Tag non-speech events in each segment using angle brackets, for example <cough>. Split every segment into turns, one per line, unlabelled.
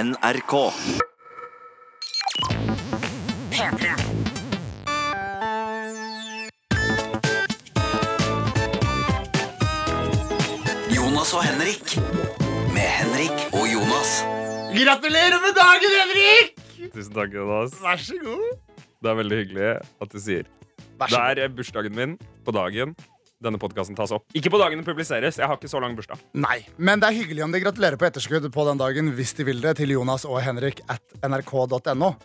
NRK. Jonas og Henrik. Med Henrik og Jonas.
Gratulerer med dagen, Henrik!
Tusen takk, Jonas.
Vær så god.
Det er veldig hyggelig at du sier.
Vær
Det er eh, bursdagen min på dagen denne podkasten tas opp. Ikke på dagen den publiseres. Jeg har ikke så lang bursdag.
Nei, men det er hyggelig om de gratulerer på etterskudd på den dagen hvis de vil det, til Jonas og Henrik at nrk.no.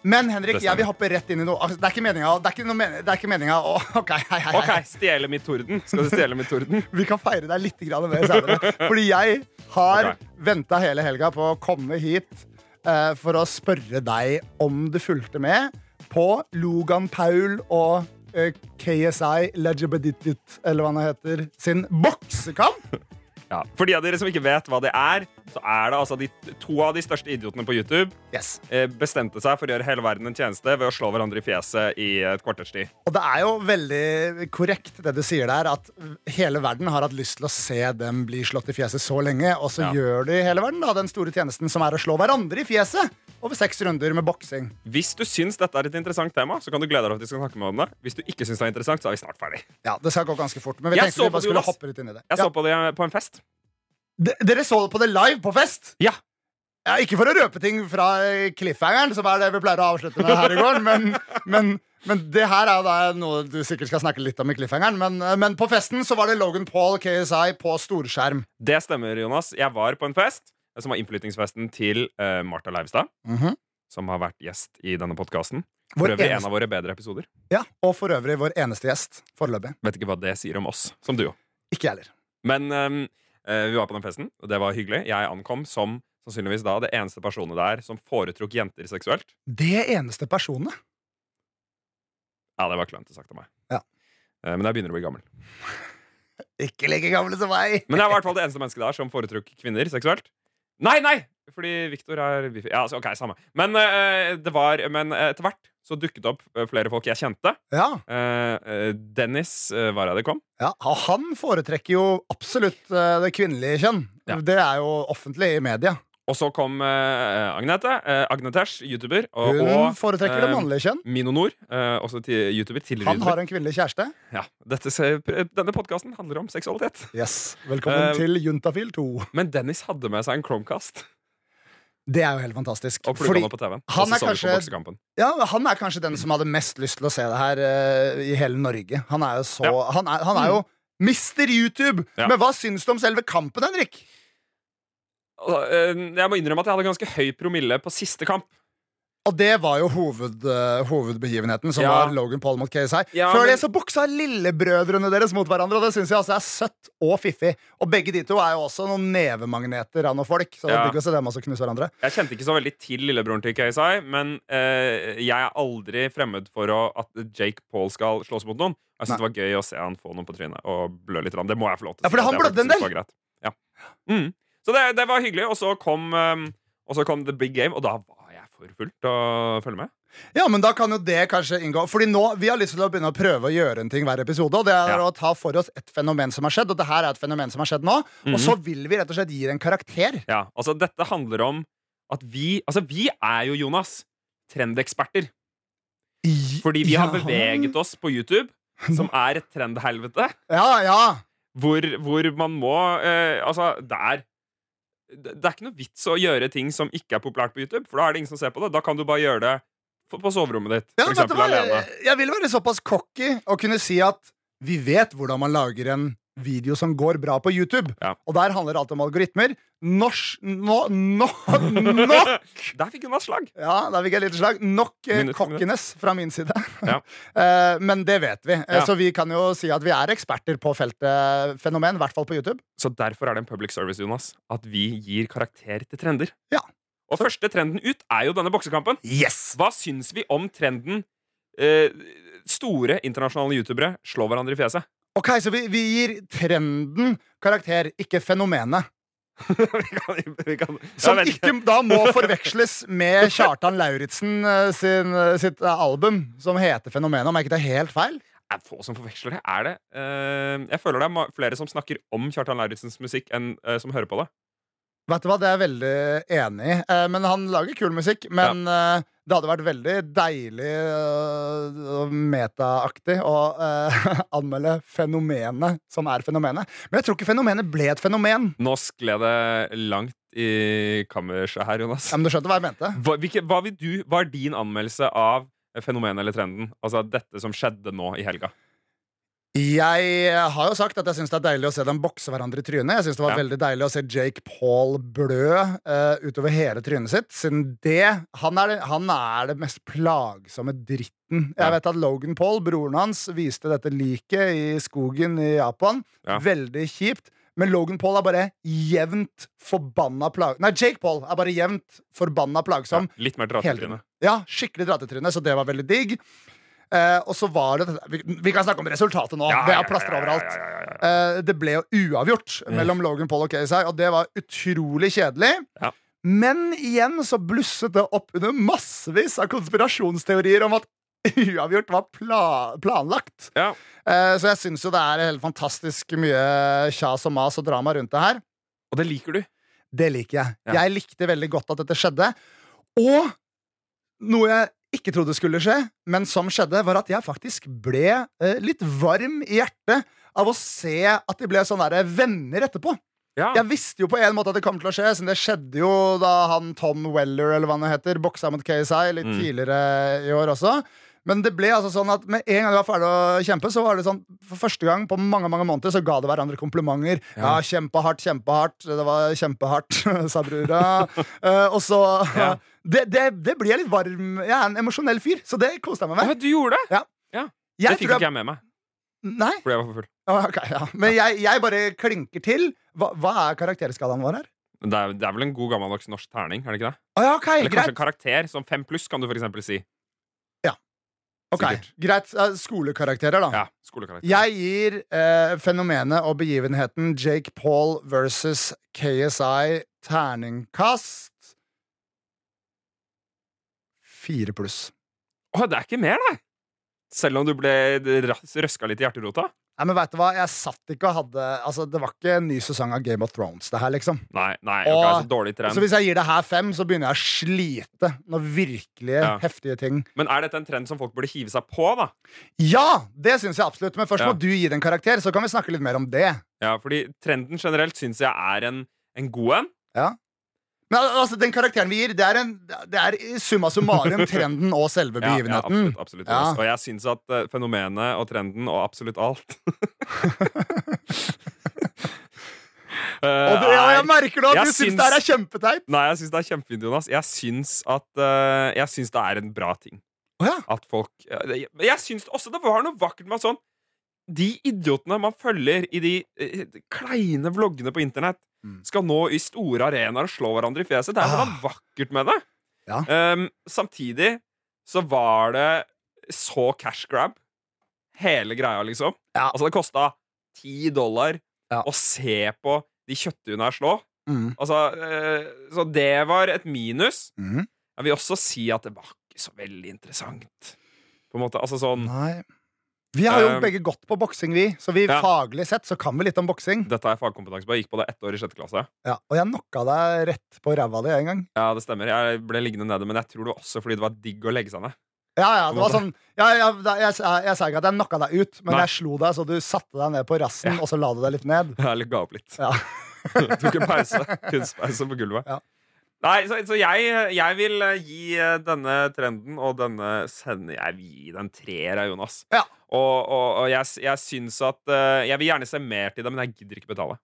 Men Henrik,
Det stemmer.
jeg vil hoppe rett inn i noe. Altså, Det er ikke meninga. Det er ikke, noe men det er ikke meninga. å- ok, hei, hei, hei.
Ok, Stjele mitt torden. Skal du stjele mitt torden?
Vi kan feire deg litt grann mer senere. Fordi jeg har
Ok.
ventet venta hele helga på å komme hit eh, for å spørre deg om du fulgte med på Logan Paul og eh, KSI Legebeditit, eller hva han heter, sin boksekamp.
Ja. For de av dere som ikke vet hva det er, så er det altså de, to av de største idiotene på YouTube
Yes.
eh, bestemte seg for å gjøre hele verden en tjeneste ved å slå hverandre i fjeset i et kvarters tid.
Og det er jo veldig korrekt det du sier der, at hele verden har hatt lyst til å se dem bli slått i fjeset så lenge, og så
Ja.
gjør de hele verden da, den store tjenesten som er å slå hverandre i fjeset over seks runder med boksing.
Hvis du syns dette er et interessant tema, så kan du glede deg til at vi skal snakke med om det. Hvis du ikke syns det er interessant, så er vi snart ferdig.
Ja, det skal gå ganske fort, men vi
Jeg
tenkte
så
vi
på
bare
det,
skulle
Jonas.
hoppe litt inn i det.
Jeg
Ja.
så på det på en fest.
D- Dere så på det live på fest?
Ja.
Ja, ikke for å røpe ting fra eh, cliffhangeren, som er det vi pleier å avslutte med her i
<laughs>
går, men, men, men det her er jo da noe du sikkert skal snakke litt om i cliffhangeren, men, eh, men på festen så var det Logan Paul KSI på storskjerm.
Det stemmer, Jonas. Jeg var på en fest eh, som var innflyttingsfesten til eh, Martha Leivstad,
Mhm.
som har vært gjest i denne podkasten. For
Vår
øvrig en
eneste-
av våre bedre episoder.
Ja, Og for øvrig vår eneste gjest foreløpig.
Vet ikke hva det sier om oss som duo.
Ikke jeg heller.
Men ehm, eh, vi var på den festen, og det var hyggelig. Jeg ankom som sannsynligvis da det eneste personet der som foretrok jenter seksuelt.
Det eneste personet.
Ja, det var klønete sagt av meg.
Ja.
Eh, Men jeg begynner å bli gammel.
Ikke like gamle som meg.
Men jeg var i hvert fall det eneste mennesket der som foretrok kvinner seksuelt. Nei, nei! Fordi Victor er bifil. Ja, altså, OK, samme. Men, eh, det var, men eh, etter hvert så dukket det opp eh, flere folk jeg kjente.
Ja,
Eh, eh, Dennis uh, Vareide kom.
ja og Han foretrekker jo absolutt eh, det kvinnelige kjønn.
Ja.
Det er jo offentlig i media.
Og så kom eh, Agnete. Uh, Agnetesh, youtuber. Og,
Hun
og
foretrekker det
eh,
mannlige kjønn.
Mino Nord, eh, også til youtuber. Tidligere
Han
YouTuber.
har en kvinnelig kjæreste.
Ja, dette, ser- eh, denne podkasten handler om seksualitet.
Yes, Velkommen
Eh,
til Juntafil 2.
Men Dennis hadde med seg en Chromecast
Det er jo helt fantastisk.
og plugga
Fordi
den opp på TV-en.
han
Og så
er
så vi på
kanskje-
boksekampen.
ja, Han er kanskje den som hadde mest lyst til å se det her eh, i hele Norge. Han er jo så
Ja. Mm.
han, er, han er jo Mister YouTube!
Ja.
Men hva syns du om selve kampen, Henrik?
Og, eh, Jeg må innrømme at jeg hadde ganske høy promille på siste kamp.
Og det var jo hoved, eh, hovedbegivenheten, som
Ja.
var Logan Paul mot KSI.
Ja,
Før
men-
det så boksa lillebrødrene deres mot hverandre, og det syns jeg altså er søtt og fiffig. Og begge de to er jo også noen nevemagneter av noen folk, så det
Ja.
er digg å se dem også knuse hverandre.
Jeg kjente ikke så veldig til lillebroren til KSI, men eh, jeg er aldri fremmed for å, at Jake Paul skal slåss mot noen. Jeg synes det var gøy å se han få noen på trynet og blø litt. grann. Det må jeg få lov til. å
Ja, for
si at
han
jeg
blødde en
faktisk
del.
synes var greit. Ja. Mm. Så det, det var hyggelig. Og så kom, eh, og så kom The Big Game, og da var jeg for full til å følge med.
Ja, men da kan jo det kanskje inngå Fordi nå, vi har lyst til å begynne å prøve å gjøre en ting hver episode Og det er
Ja.
å ta for oss et fenomen som har skjedd Og det her er et fenomen som har skjedd nå Og så vil vi rett og slett gi det en karakter
Mhm. Ja, altså Dette handler om at vi Altså, vi er jo, Jonas, trendeksperter. Fordi vi har beveget oss på YouTube, som er et trendhelvete.
Ja, ja
hvor, hvor man må eh, Altså, det er Det det er ikke noe vits å gjøre ting som ikke er populært på YouTube, for da er det ingen som ser på det. Da kan du bare gjøre det på, på soverommet ditt,
Ja,
for
dette
eksempel
var,
alene.
jeg vil være såpass cocky og kunne si at vi vet hvordan man lager en video som går bra på YouTube.
Ja.
Og der handler alt om algoritmer. Norsk Nå! nå, nå.
<laughs> Der fikk hun et slag.
Ja, der fikk jeg et lite slag. Nok eh,
Minutt for minutt.
kokkenes fra min side.
Ja.
<laughs> Eh, Men det vet vi. Eh,
Ja.
Så vi kan jo si at vi er eksperter på feltet fenomen, i hvert fall på YouTube.
Så derfor er det en public service, Jonas, at vi gir karakter til trender.
Ja.
Og første trenden ut er jo denne boksekampen.
Yes!
Hva syns vi om trenden eh, store internasjonale youtubere slår hverandre i fjeset?
Ok, Så vi, vi gir trenden karakter, ikke fenomenet.
<laughs> vi kan, vi kan,
Som
Jeg vet
ikke da må forveksles med Kjartan Lauritzen eh, sin, eh, sitt eh, album, som heter Fenomenet, om jeg ikke tar helt feil.
Det er få som forveksler det. Er det? Ehm, Eh, jeg føler det er ma- flere som snakker om Kjartan Lauritzens musikk enn eh, som hører på det.
Vet du hva, Det er jeg veldig enig i. Eh, men han lager kul musikk. Men eh, det hadde vært veldig deilig eh, og metaaktig å eh, <laughs> anmelde fenomenet som er fenomenet. Men jeg tror ikke fenomenet ble et fenomen.
Nå skled det langt i kammerset her, Jonas.
Ja, men du skjønte hva jeg mente?
Hva, hvilke, hva, vil du, hva er din anmeldelse av fenomenet eller trenden? Altså dette som skjedde nå i helga.
Jeg har jo sagt at jeg syns det er deilig å se dem bokse hverandre i trynet. Jeg syns det var
Ja.
veldig deilig å se Jake Paul blø eh, utover hele trynet sitt. Siden det han er, det han er det mest plagsomme dritten.
Ja.
Jeg vet at Logan Paul, broren hans, viste dette liket i skogen i Japan.
Ja.
Veldig kjipt. Men Logan Paul er bare jevnt forbanna plag... Nei, Jake Paul er bare jevnt forbanna plagsom.
Ja, litt mer
Hele
dratetryne.
tiden. Ja, skikkelig dratetryne, så det var veldig digg. Eh, og så var det vi, vi kan snakke om resultatet nå.
Ja,
det
ja,
er plaster
ja, ja,
overalt.
ja, ja, ja,
Eh, det ble jo uavgjort mellom Logan Paul og KSI, og det var utrolig kjedelig.
Ja.
Men igjen så blusset det opp under massevis av konspirasjonsteorier om at <laughs> uavgjort var pla planlagt.
Ja.
Eh, så jeg syns jo det er helt fantastisk mye kjas og mas og drama rundt det her.
Og det liker du.
Det liker jeg.
Ja.
Jeg likte veldig godt at dette skjedde. Og noe jeg ikke trodde skulle skje, men som skjedde, var at jeg faktisk ble eh, litt varm i hjertet av å se at de ble sånne der venner etterpå.
Ja.
Jeg visste jo på en måte at det kom til å skje, siden det skjedde jo da han Tom Weller eller hva han heter, boksa mot KSI litt
Mm.
tidligere i år også. Men det ble altså sånn at med en gang de var ferdig å kjempe, så var det sånn for første gang på mange mange måneder så ga det hverandre komplimenter. Ja,
Ja.
kjempehardt, kjempehardt. Det var kjempehardt, <laughs> sa brura. Eh, og så
Ja.
<laughs> det, det, det blir jeg litt varm Jeg er en emosjonell fyr, så det koste jeg meg
Å,
med.
du gjorde det! Det fikk
Jeg tror
ikke
jeg,
jeg med meg.
nei,
Fordi jeg var for full.
ok, ja. Men jeg, jeg bare klinker til. Hva, hva er karakterskalaen vår her?
Men det er, det er vel en god gammeldags norsk terning? er det ikke det?
Å ja, ok,
Eller kanskje
greit.
en karakter? Som fem pluss, kan du for eksempel si.
Ok,
Sikkert.
greit. Eh, Skolekarakterer, da.
Ja, skolekarakter.
Jeg gir eh, fenomenet og begivenheten Jake Paul versus KSI terningkast Fire pluss.
Å, det er ikke mer, nei! Selv om du ble røska litt i hjerterota?
Nei, men vet du hva? Jeg satt ikke og hadde Altså, Det var ikke en ny sesong av Game of Thrones, det her, liksom.
Nei, nei,
Å,
ok, altså, dårlig trend.
Så hvis jeg gir det her fem, så begynner jeg å slite når virkelige,
Ja.
heftige ting
Men er dette en trend som folk burde hive seg på, da?
Ja! Det syns jeg absolutt. Men først
Ja.
må du gi det en karakter, så kan vi snakke litt mer om det.
Ja, fordi trenden generelt syns jeg er en, en god en.
Men al- altså, den karakteren vi gir, det er, en, det er i summa
<laughs>
summarum trenden og selve
Ja, ja,
begivenheten.
absolutt, absolutt
Ja.
Jonas. Og jeg syns at eh, fenomenet og trenden og absolutt <laughs> alt Eh,
Og det, ja, jeg
er-
merker nå at
Jeg
du syns
syns-
det her er kjempeteit.
Nei, jeg syns det er kjempefint, Jonas. Jeg syns at eh, Jeg syns det er en bra ting.
Å ja.
At folk eh, det- Men jeg syns også det var noe vakkert med at sånn De idiotene man følger i de eh, kleine vloggene på internett,
Mm.
skal nå i store arenaer og slå hverandre i fjeset. Det er noe
Ah.
vakkert med det.
Ja.
Ehm, samtidig så var det så cash grab, hele greia, liksom.
Ja.
Altså, det kosta ti dollar
Ja.
å se på de kjøttduene her slå.
Mm.
Altså, eh, så det var et minus.
Mm.
Jeg vil også si at det var ikke så veldig interessant. På en måte, altså sånn
Mm. Nei. Vi har jo
Um,
begge gått på boksing, vi, så vi
Ja.
faglig sett så kan vi litt om boksing.
Dette er fagkompetanse på. Jeg gikk på det ett år i sjette klasse.
Ja, og jeg knocka deg rett på ræva di en gang.
Ja, det stemmer. Jeg ble liggende nede, men jeg tror det var også fordi det var digg å legge seg ned.
Ja, ja, det
På en
var
måte.
sånn ja, ja, da, jeg, jeg, jeg sa ikke at jeg knocka deg ut, men
Nei.
jeg slo deg så du satte deg ned på rassen,
Ja.
og så la du deg litt ned.
Eller ga opp litt.
Ja.
<laughs> Tok en pause. Kunstpause på gulvet.
Ja.
Nei, så, så jeg, jeg vil eh, gi eh, denne trenden og denne senden Jeg vil gi den treer, jeg, Jonas.
Ja.
Og, og, og jeg, s- jeg syns at eh, Jeg vil gjerne se mer til det, men jeg gidder ikke betale.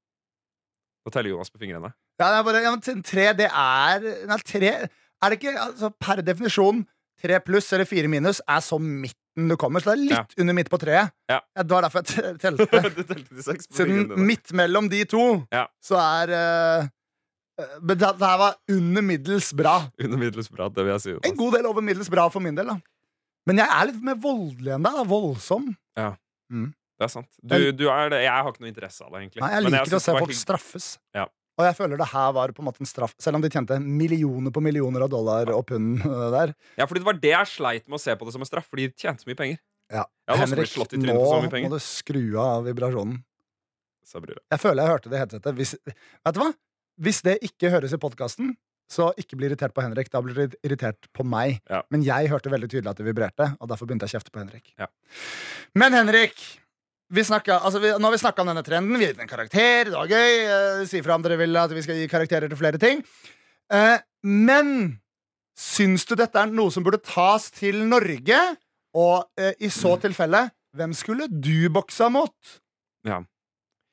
Nå teller Jonas på
<laughs>
fingrene.
Ja, det er bare, ja, men t- tre, det er Nei, tre Er det ikke altså, Per definisjon, tre pluss eller fire minus er så midten du kommer. Så det er litt under midt på treet.
Ja.
det var derfor jeg t-
du <laughs>
telte.
telte til seks på
Siden
fingrene dine.
midt mellom de to,
Ja.
så er eh, eh, Men det, det her var under middels bra.
Under middels bra, det vil jeg si. Jonas.
En god del over middels bra for min del, da. Men jeg er litt mer voldelig enn deg. da, Voldsom.
Det er sant. Du, du er det. Jeg har ikke noe interesse av det, egentlig.
Nei, jeg
Men
liker å
synes
se
det var
folk
hygg-
straffes.
Ja.
Og jeg føler det her var på en måte en straff, selv om de tjente millioner på millioner av dollar og pund eh, der.
Ja, fordi det var det jeg sleit med å se på det som en straff, fordi de tjente så mye penger.
Ja.
Jeg hadde også blitt
Henrik,
slått i
nå
trynet for så mye
må
penger.
du skru av vibrasjonen.
Sa brura.
Jeg føler jeg hørte det i headsetet. Hvis, vet du hva? Hvis det ikke høres i podkasten, så ikke bli irritert på Henrik. Da blir dere irritert på meg.
Ja.
Men jeg hørte veldig tydelig at det vibrerte, og derfor begynte jeg å kjefte på Henrik.
Ja.
Men Henrik, vi snakket, altså vi, nå har vi snakka om denne trenden. Vi har gitt en karakter. Det var gøy. Eh, si fra om dere vil at vi skal gi karakterer til flere ting. Eh, men syns du dette er noe som burde tas til Norge? Og eh, i
Mm.
så tilfelle, hvem skulle du boksa mot?
Ja.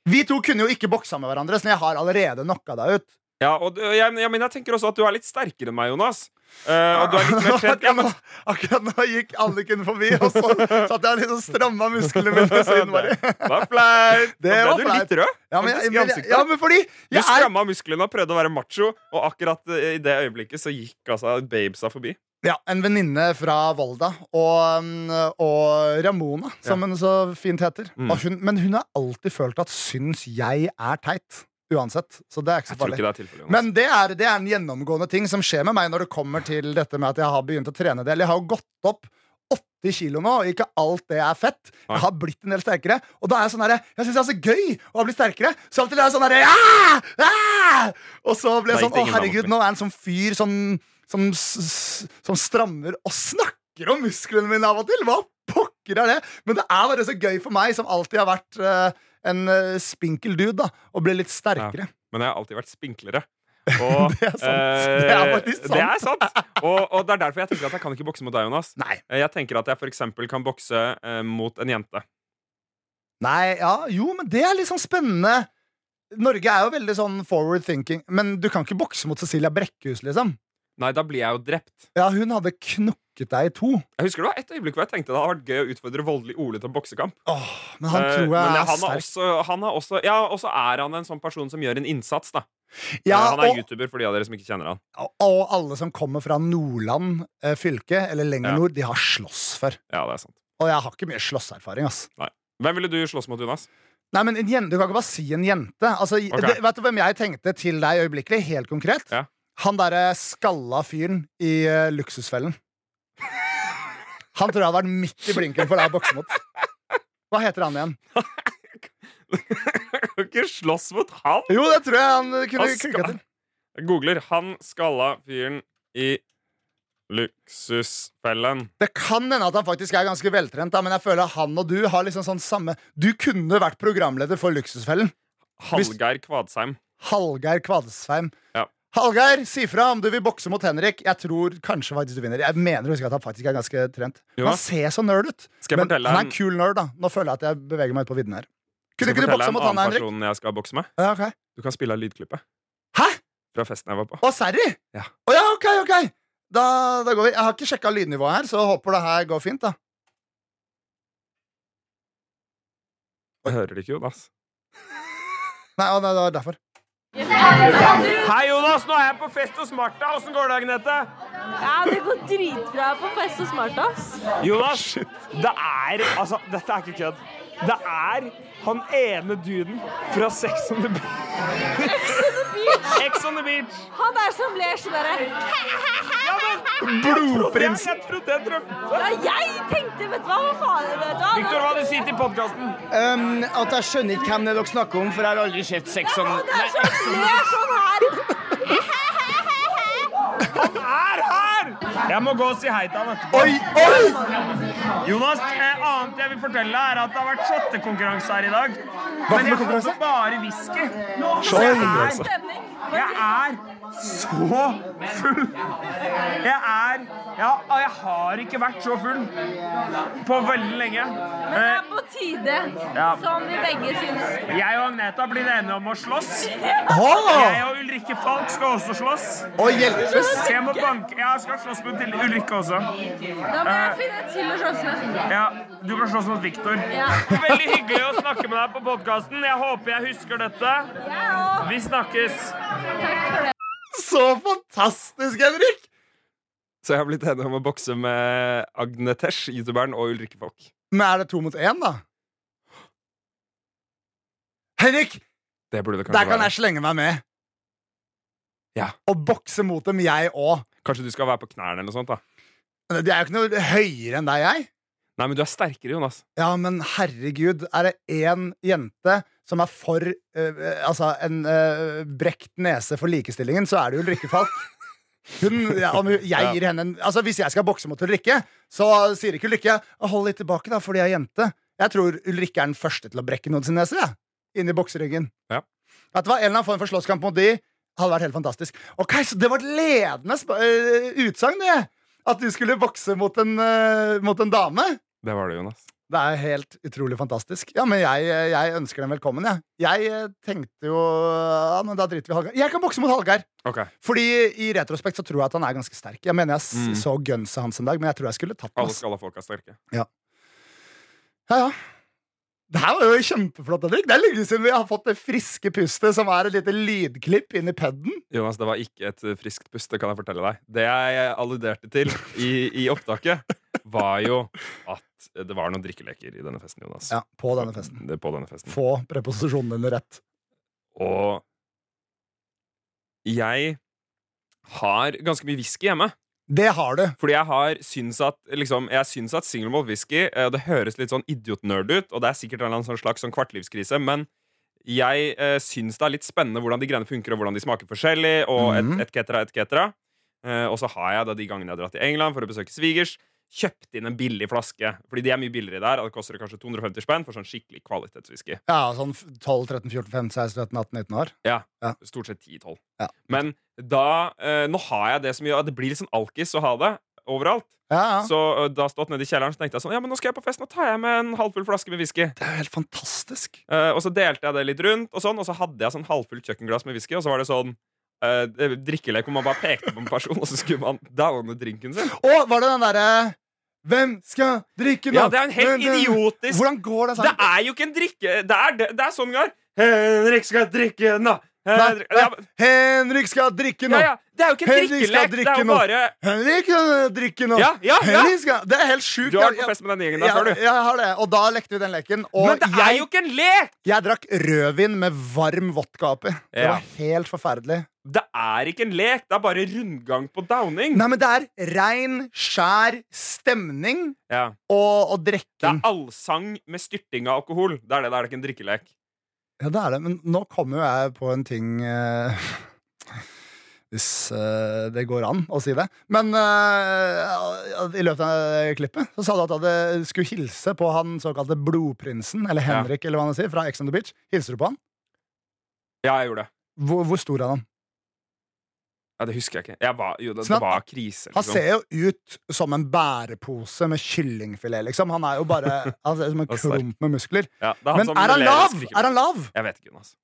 Vi to kunne jo ikke boksa med hverandre, så jeg har allerede knocka deg ut.
Ja, og du- jeg, jeg, men jeg tenker også at du er litt sterkere enn meg, Jonas. Eh, og du er litt mer trent.
<laughs>
Ja,
akkurat,
men,
nå, akkurat nå gikk Anniken forbi, og så satt jeg liksom stramma musklene mine. Så innmari.
det var flaut!
<laughs> Det
Nå
var
ble du litt rød
Ja, men,
faktisk, i
men,
ansiktet.
ja, men fordi
Du
jeg er,
stramma musklene og prøvde å være macho, og akkurat eh, i det øyeblikket så gikk altså babesa forbi.
ja, En venninne fra Volda og, mm, og Ramona, som hun så fint heter.
Mm.
Og hun, men hun har alltid følt at syns jeg er teit. Uansett. Så det er ikke
Jeg
så
tror
farlig.
ikke det er tilfellet. Jonas.
Men det er, det er en gjennomgående ting som skjer med meg når det kommer til dette med at jeg har begynt å trene en del. Jeg har jo gått opp 80 kilo nå, og ikke alt det er fett.
Nei.
Jeg har blitt en del sterkere, og da er jeg sånn herre Jeg syns det er så gøy å bli sterkere, så av og til er jeg sånn herre «Ja! Ja!» Og så ble
Det
jeg
er
sånn Å,
ingen
herregud,
sammenheng.
nå er jeg en sånn fyr som, som, s- s- som strammer og snakker om musklene mine av og til. Hva pokker er det? Men det er bare så gøy for meg, som alltid har vært eh, en eh, spinkel dude, da, å bli litt sterkere.
men jeg har alltid vært spinklere.
<laughs>
Og,
Det er sant.
eh,
Det er faktisk sant.
Det er sant. Og, og det er derfor jeg tenker at jeg kan ikke bokse mot deg, Jonas.
Nei.
Eh, Jeg tenker at jeg for eksempel kan bokse eh, mot en jente.
Nei, ja, jo, men det er litt sånn spennende. Norge er jo veldig sånn forward thinking, men du kan ikke bokse mot Cecilia Brekkhus, liksom.
Nei, da blir jeg jo drept.
Ja, hun hadde knukket deg i to.
Jeg husker det var et øyeblikk hvor jeg tenkte det hadde vært gøy å utfordre voldelig Ole til en boksekamp.
Åh, men han
Eh,
tror jeg
men
er
han er
sterk.
også, han er også Ja, og så er han en sånn person som gjør en innsats, da.
Ja,
Eh, han er
og,
YouTuber for de av dere som ikke kjenner han.
og alle som kommer fra Nordland eh, fylke, eller lenger
Ja.
nord, de har slåss før.
Ja, det er sant.
Og jeg har ikke mye slåsserfaring, ass.
Hvem ville du slåss mot, Jonas?
Nei, men en jente, Du kan ikke bare si en jente. Altså,
Ok.
det, vet du hvem jeg tenkte til deg øyeblikkelig? Helt konkret?
Ja.
Han derre skalla fyren i eh, Luksusfellen. Han tror jeg hadde vært midt i blinken for deg å bokse mot. Hva heter han igjen?
<laughs> Jeg kan ikke slåss mot han!
Jo, det tror jeg han eh, kunne
Han
klikka
skal-
til.
Jeg googler 'han skalla fyren i luksusfellen'.
Det kan hende at han faktisk er ganske veltrent, da, men jeg føler han og du har liksom sånn samme Du kunne vært programleder for Luksusfellen. Hvis-
Hallgeir Kvadsheim.
Hallgeir Kvadsheim.
Ja.
Hallgeir, si fra om du vil bokse mot Henrik. Jeg tror kanskje faktisk du vinner. Jeg mener å huske at Han faktisk er ganske trent
Jo.
Han ser så nerd ut.
Skal jeg
men
fortelle
han er
en-
en kul nerd, da. Nå føler jeg at jeg beveger meg ut på vidden her.
Skal
Kunne
jeg
ikke du
fortelle
bokse
en
mot han,
annen
Henrik?
person jeg skal bokse med?
Ja, ok.
Du kan spille av lydklippet
Hæ?
fra festen jeg var på.
Å, Serry?
Ja.
Å ja, ok, ok. Da, da går vi. Jeg har ikke sjekka lydnivået her, så håper det her går fint, da.
Jeg hører det ikke, Jonas.
Nei, å, nei, det var derfor.
Hei, Jonas! Nå er jeg på fest hos Martha. Åssen går dagen, Nette?
Ja, det går dritbra på fest hos Martha. ass.
Jonas, det er Altså, dette er ikke kødd. Det er han ene duden fra Sex on the Beach. Ex on the Beach.
Han der som ler sånn derre
Ja, men Blodprinsen! Jeg trodde jeg drømte.
Ja, jeg tenkte Vet du hva, hva faen? Vet du hva?
Victor, hva har du sier til podkasten?
Um, at jeg skjønner ikke hvem det er dere snakker om, for jeg har aldri sett sex on
Han der som ler sånn
<laughs>
her.
Er her! Jeg må gå og si hei til han etterpå.
Oi, oi!
Jonas, eh, annet jeg vil fortelle deg er at det har vært chattekonkurranse her i dag. Men jeg
konkurranse?
hadde bare whisky. Så
Oi.
jeg er
Stemning.
Jeg er så full. Jeg er ja, Jeg har ikke vært så full på veldig lenge.
Men det er på tide,
Ja.
som vi begge syns.
Jeg og Agneta blir enige om å slåss. Jeg
Å,
og Ulrikke Falk skal også slåss.
Å, hjelpes!
Så jeg må banke Jeg skal slåss med til Ulrikke også.
Da må
Eh.
jeg finne et til å slåss med.
Ja, Du kan slåss mot Viktor.
Ja.
Veldig hyggelig å snakke med deg på podkasten. Jeg håper jeg husker dette.
Jeg òg.
Vi snakkes.
Takk for det.
Så fantastisk, Henrik!
Så jeg har blitt enig om å bokse med Agnetesh, youtuberen, og Ulrikke Falk.
Men er det to mot én, da? Henrik,
Det burde det kanskje
der kan
være.
jeg slenge meg med.
Ja.
Og bokse mot dem, jeg òg.
Kanskje du skal være på knærne eller noe sånt, da.
De er jo ikke noe høyere enn deg, jeg.
Nei, men du er sterkere, Jonas.
Ja, men herregud, er det én jente som er for eh, altså en eh, brekt nese for likestillingen, så er det jo Ulrikke Falk. Hun, ja, om hun, jeg gir henne en, altså Hvis jeg skal bokse mot Ulrikke, så sier ikke Ulrikke «Å, Hold litt tilbake, da, fordi jeg er jente. Jeg tror Ulrikke er den første til å brekke noen sin nese. jeg. Inn i bokseryggen.
Ja.
At det var en eller annen form for slåsskamp mot de, hadde vært helt fantastisk. Ok, så Det var et ledende sp- eh, utsagn, det! At du skulle bokse mot en, eh, mot en dame.
Det var det, Jonas.
Det er helt utrolig fantastisk. Ja, men jeg, jeg ønsker dem velkommen, jeg. Jeg eh, tenkte jo Ja, men da driter vi i Hallgeir. Jeg kan bokse mot Hallgeir!
Ok.
Fordi i retrospekt så tror jeg at han er ganske sterk. Jeg mener jeg s-
Mm.
så gunset hans en dag, men jeg tror jeg skulle tatt den.
Alle
ass.
skalla folk er sterke.
Ja, ja. Det her var jo kjempeflott, Henrik. Det er lenge siden vi har fått det friske pustet som er et lite lydklipp inni peden.
Jonas, det var ikke et eh, friskt pust, det kan jeg fortelle deg. Det jeg alluderte til i, i opptaket, var jo at det var noen drikkeleker i denne festen, Jonas.
Ja, på denne festen.
Det, på denne festen.
Få preposisjonene dine rett.
Og jeg har ganske mye whisky hjemme.
Det har du.
Fordi jeg har syns at liksom, Jeg syns at single malt whisky eh, Det høres litt sånn idiotnerd ut, og det er sikkert en eller annen sånn slags sånn kvartlivskrise, men jeg eh, syns det er litt spennende hvordan de greiene funker, og hvordan de smaker forskjellig, og et,
Mhm.
et cetera, et cetera. Eh, og så har jeg da de gangene jeg har dratt til England for å besøke svigers, kjøpt inn en billig flaske. Fordi de er mye billigere der, og det koster kanskje 250 spenn for sånn skikkelig kvalitetswhisky.
Ja, sånn 12-13-14-15-16-17-18-19 år.
Stort sett 10-12.
Ja.
Men da eh, Nå har jeg det så mye, at det blir litt sånn alkis å ha det overalt.
Ja, ja.
Så ø, da stått nede i kjelleren Så tenkte jeg sånn Ja, men nå skal jeg på fest Nå tar jeg med en halvfull flaske med whisky
det er jo helt fantastisk.
Eh, Og så delte jeg det litt rundt Og sånn Og så hadde jeg sånn halvfullt kjøkkenglass med whisky Og så var det sånn eh, Drikkelek hvor man bare pekte på en person Og så skulle man downe drinken sin
Og var det den derre Hvem skal drikke nå?
Ja, det er en helt
Men, men,
idiotisk
Hvordan går det
Det
sammen?
er jo ikke en drikke Det er, det, det er sånn, Gar Henrik skal drikke nå Henrik-
nei.
ja,
Henrik skal drikke nå!
ja, ja, det er jo ikke en
Henrik
drikkelek
skal
Det er
drikke
jo
nå.
bare
Henrik skal drikke nå!
Ja, ja, ja
Henrik skal Det er helt sjukt.
Du har vært
Jeg-
på fest med den gjengen
jeg-
der før du
jeg- jeg har det. Og da lekte vi den leken. Og
Men det er
jeg,
jo ikke en lek
jeg drakk rødvin med varm vodka oppi. Det
Ja.
var helt forferdelig.
Det er ikke en lek Det er bare rundgang på downing
Nei, men det er rein, skjær stemning
Ja
og, og
Det er
drikking.
allsang med styrting av alkohol. Det er det, det er ikke en drikkelek.
Ja, det er det. Men nå kommer jo jeg på en ting eh, <laughs> Hvis eh, det går an å si det. Men eh, i løpet av klippet så sa du at du hadde- skulle hilse på han såkalte Blodprinsen, eller
Ja.
Henrik, eller hva han sier, fra Ex on the Beach. Hilser du på han?
Ja, jeg gjorde det.
Hvor, hvor stor er han?
Ja, det husker jeg ikke. Jeg var, jo, det,
Sånn at-
det var krise,
Han
liksom.
ser jo ut som en bærepose med kyllingfilet, liksom. Han er jo bare <laughs> han ser ut som en
Og sterk.
klump med muskler.
Ja, det
Men
som
er han
leverer
lav?
skrikebøker.
Er han lav?
Jeg vet ikke, Jonas.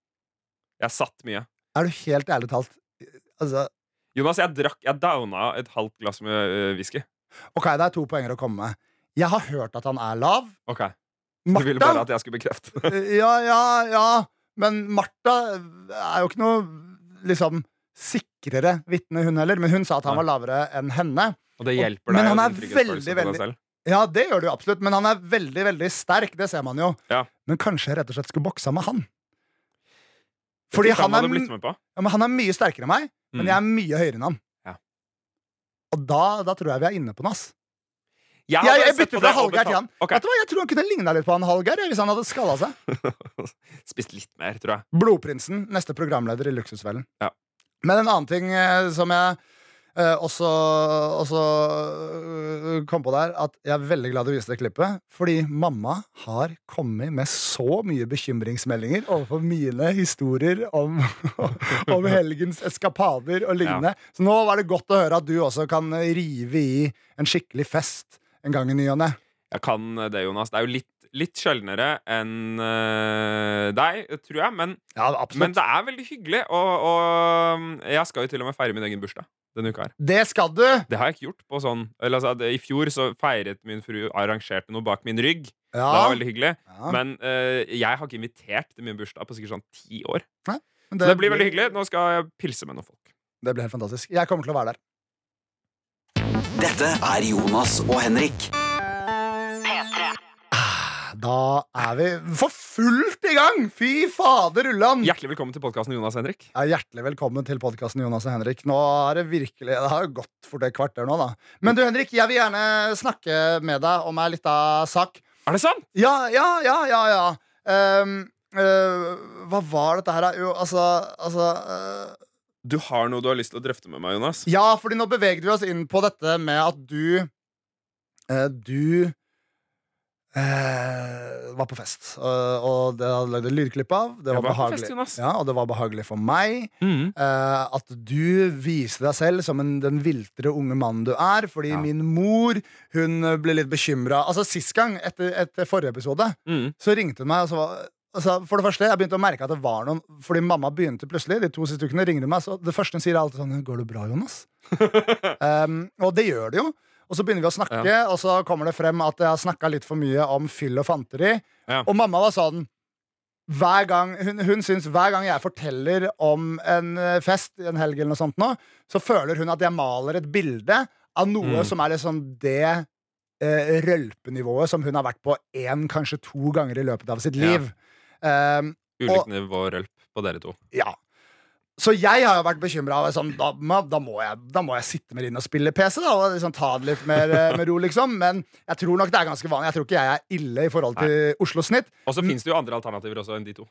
Jeg satt mye.
Er du helt ærlig talt Altså,
Jonas, jeg drakk Jeg downa et halvt glass med øh, whisky.
OK, det er to poenger å komme med. Jeg har hørt at han er lav.
Ok, Du ville bare
Martha Eh,
at jeg skulle bekrefte
Ja, ja, ja. Men Martha er jo ikke noe liksom sikrere vitne, hun heller. Men hun sa at han
Nei.
var lavere enn henne.
Og det hjelper
Men
deg.
han
og
er
din trygghetsfølelse på
veldig,
deg
veldig-
selv.
Ja, det gjør det jo absolutt, men han er veldig veldig sterk. Det ser man jo.
Ja.
Men kanskje jeg rett og slett skulle boksa med han.
Jeg
Fordi
tipper
han er,
hadde blitt med på.
ja, men han er mye sterkere enn meg, men
Mm.
jeg er mye høyere enn han.
Ja.
Og da, da tror jeg vi er inne på noe. ass.
Jeg,
Jeg,
hadde
jeg
sett på det
bytter fra
og
Hallgeir til han.
betalt- Ok.
Vet du hva, Jeg tror han kunne ligna litt på han Hallgeir hvis han hadde skalla seg.
<laughs> Spist litt mer, tror jeg.
Blodprinsen, neste programleder i Luksusfellen.
Ja.
Men en annen ting eh, som jeg eh, også, også eh, kom på der, at jeg er veldig glad du viste det klippet, fordi mamma har kommet med så mye bekymringsmeldinger overfor mine historier om, <laughs> om helgens eskapader og lignende. Så nå var det godt å høre at du også kan rive i en skikkelig fest en gang i ny og ne.
Jeg kan det, Jonas. Det er jo litt, litt sjeldnere enn øh, deg, tror jeg. Men
Ja,
Men det er veldig hyggelig, og, og jeg skal jo til og med feire min egen bursdag denne uka her.
Det skal du!
Det har jeg ikke gjort på sånn eller, altså, det- I fjor så feiret min fru arrangerte noe bak min rygg.
Ja.
Det var veldig hyggelig.
Ja,
Men eh, jeg har ikke invitert til min bursdag på sikkert sånn ti år.
men
Så det blir veldig hyggelig. Nå skal jeg pilse med noen folk.
Det blir helt fantastisk. Jeg kommer til å være der.
Dette er Jonas og Henrik.
Da er vi for fullt i gang! Fy fader, Ulland!
Hjertelig velkommen til podkasten Jonas Henrik.
Ja, hjertelig velkommen til podkasten Jonas og Henrik. Nå er Det virkelig, det har jo gått fort et kvarter nå, da. Men du, Henrik, jeg vil gjerne snakke med deg om ei lita sak.
Er det sant?
Ja, ja, ja, ja. ja. Ehm, eh, Hva var dette her, da? Jo, altså, altså eh,
Du har noe du har lyst til å drøfte med meg, Jonas?
Ja, fordi nå beveget vi oss inn på dette med at du eh, Du eh, var på fest, eh, og det hadde jeg lagd et lydklipp av. Det
Jeg
var,
var på fest,
behagelig.
Jonas.
ja, og det var behagelig for meg.
Mm.
eh, at du viste deg selv som en, den viltre unge mannen du er. Fordi min mor hun eh, ble litt bekymra. Altså, sist gang, etter, etter forrige episode,
Mm.
så ringte hun meg. og så var Altså, for det første, Jeg begynte å merke at det var noen Fordi mamma begynte plutselig. De to siste ukene ringte hun meg så Det første hun sier, er alltid sånn 'Går det bra, Jonas?' um, og det gjør det jo. Og så begynner vi å snakke, og så kommer det frem at jeg har snakka litt for mye om fyll og fanteri.
Ja.
Og mamma var sånn hver gang, hun, hun syns hver gang jeg forteller om en eh, fest en helg, eller noe sånt nå, så føler hun at jeg maler et bilde av noe
Mm.
som er liksom det eh, rølpenivået som hun har vært på én, kanskje to ganger i løpet av sitt
Ja.
liv. Ehm, Ja.
Ulikt nivå og rølp på dere to.
ja. Så jeg har jo vært bekymra. Sånn, da, ma- da, må jeg- da må jeg sitte med inn og spille PC da, og liksom ta det litt mer eh, med ro, liksom. Men jeg tror nok det er ganske vanlig. Jeg tror ikke jeg er ille i forhold til Oslo-snitt.
Og så fins det jo andre alternativer også enn de to.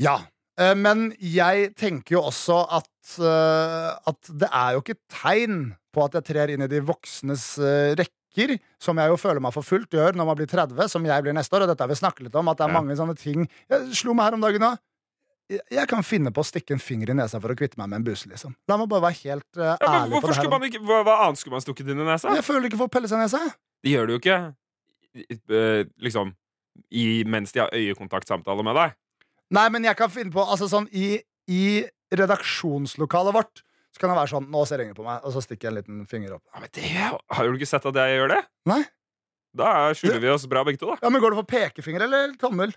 Ja. Eh, Men jeg tenker jo også at, eh, at det er jo ikke tegn på at jeg trer inn i de voksnes eh, rekker, som jeg jo føler meg for fullt gjør når man blir 30, som jeg blir neste år. Og dette har vi snakket litt om, at det er
Ja.
mange sånne ting Jeg slo meg her om dagen òg. Jeg kan finne på å stikke en finger i nesa for å kvitte meg med en buse, liksom. La meg bare være helt eh,
Ja, men
ærlig på
hvorfor
det her.
skulle man ikke, hva, hva annet skulle man stukket inn i nesa?
Jeg føler ikke for å pelle seg i nesa. jeg.
Det gjør du jo ikke i- eh, liksom i, mens de har øyekontaktsamtale med deg.
Nei, men jeg kan finne på Altså sånn i, i redaksjonslokalet vårt så kan det være sånn Nå ser ingen på meg, og så stikker jeg en liten finger opp.
Ja, men det, har du ikke sett at jeg gjør det?
Nei.
Da skjuler vi oss bra, begge to. da
Ja, men Går det for pekefinger eller tommel?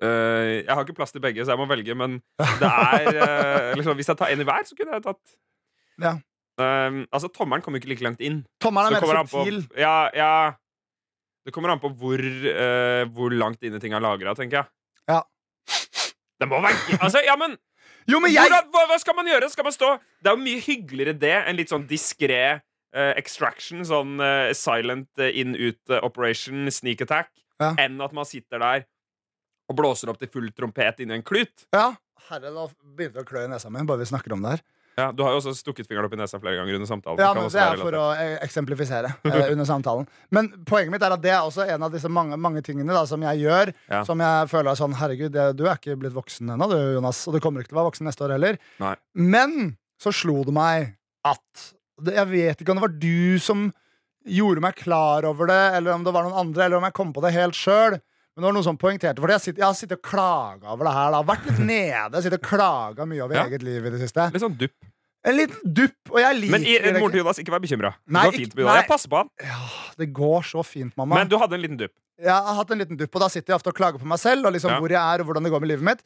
Eh, Jeg har ikke plass til begge, så jeg må velge, men det <laughs> er eh, liksom, Hvis jeg tar en i hver, så kunne jeg tatt
Ja.
Eh, altså, Tommelen kommer jo ikke like langt inn.
Tommelen
Så
er
kommer
mer
an på,
subtil.
ja, ja, det kommer an på hvor, eh, hvor langt inne ting er lagra, tenker jeg.
Ja.
Det må være ikke- altså, ja, men,
Jo, men jeg
hvordan, hva, hva skal man gjøre? Skal man stå Det er jo mye hyggeligere det enn litt sånn diskré eh, extraction. Sånn eh, silent eh, in-ut eh, operation, sneak attack.
Ja.
Enn at man sitter der og blåser opp til full trompet inni en klut.
ja. Herre, nå begynte det å klø i nesa mi bare vi snakker om det her.
Ja, du har jo også stukket fingeren opp i nesa flere ganger under samtalen. Det
Ja,
kan
men
også
Det
være
er for
relatert.
å eh, eksemplifisere eh, under samtalen. Men poenget mitt er at det er også en av disse mange, mange tingene da, som jeg gjør,
Ja.
som jeg føler er sånn Herregud, det, du er ikke blitt voksen ennå, du, Jonas. Og du kommer ikke til å være voksen neste år heller.
Nei.
Men så slo det meg at det, Jeg vet ikke om det var du som gjorde meg klar over det, eller om det var noen andre, eller om jeg kom på det helt sjøl. Men det var noen som poengterte for det. Jeg, sitter, jeg har sittet og klaga over det her. da Vært
<laughs>
litt nede. Sittet og klaga mye over
Ja.
eget liv i det siste.
Litt sånn dupp.
En liten dupp, og jeg liker
Men i,
det
moren
ikke.
til Jonas, ikke vær bekymra.
Nei,
Det går
ikke-
fint med Jonas.
nei.
Jeg passer på han.
Det går så fint, mamma.
Men du hadde en liten dupp.
Jeg har hatt en liten dupp, og da sitter jeg ofte og klager på meg selv. Og liksom
Ja.
hvor jeg er, og hvordan det går med livet mitt.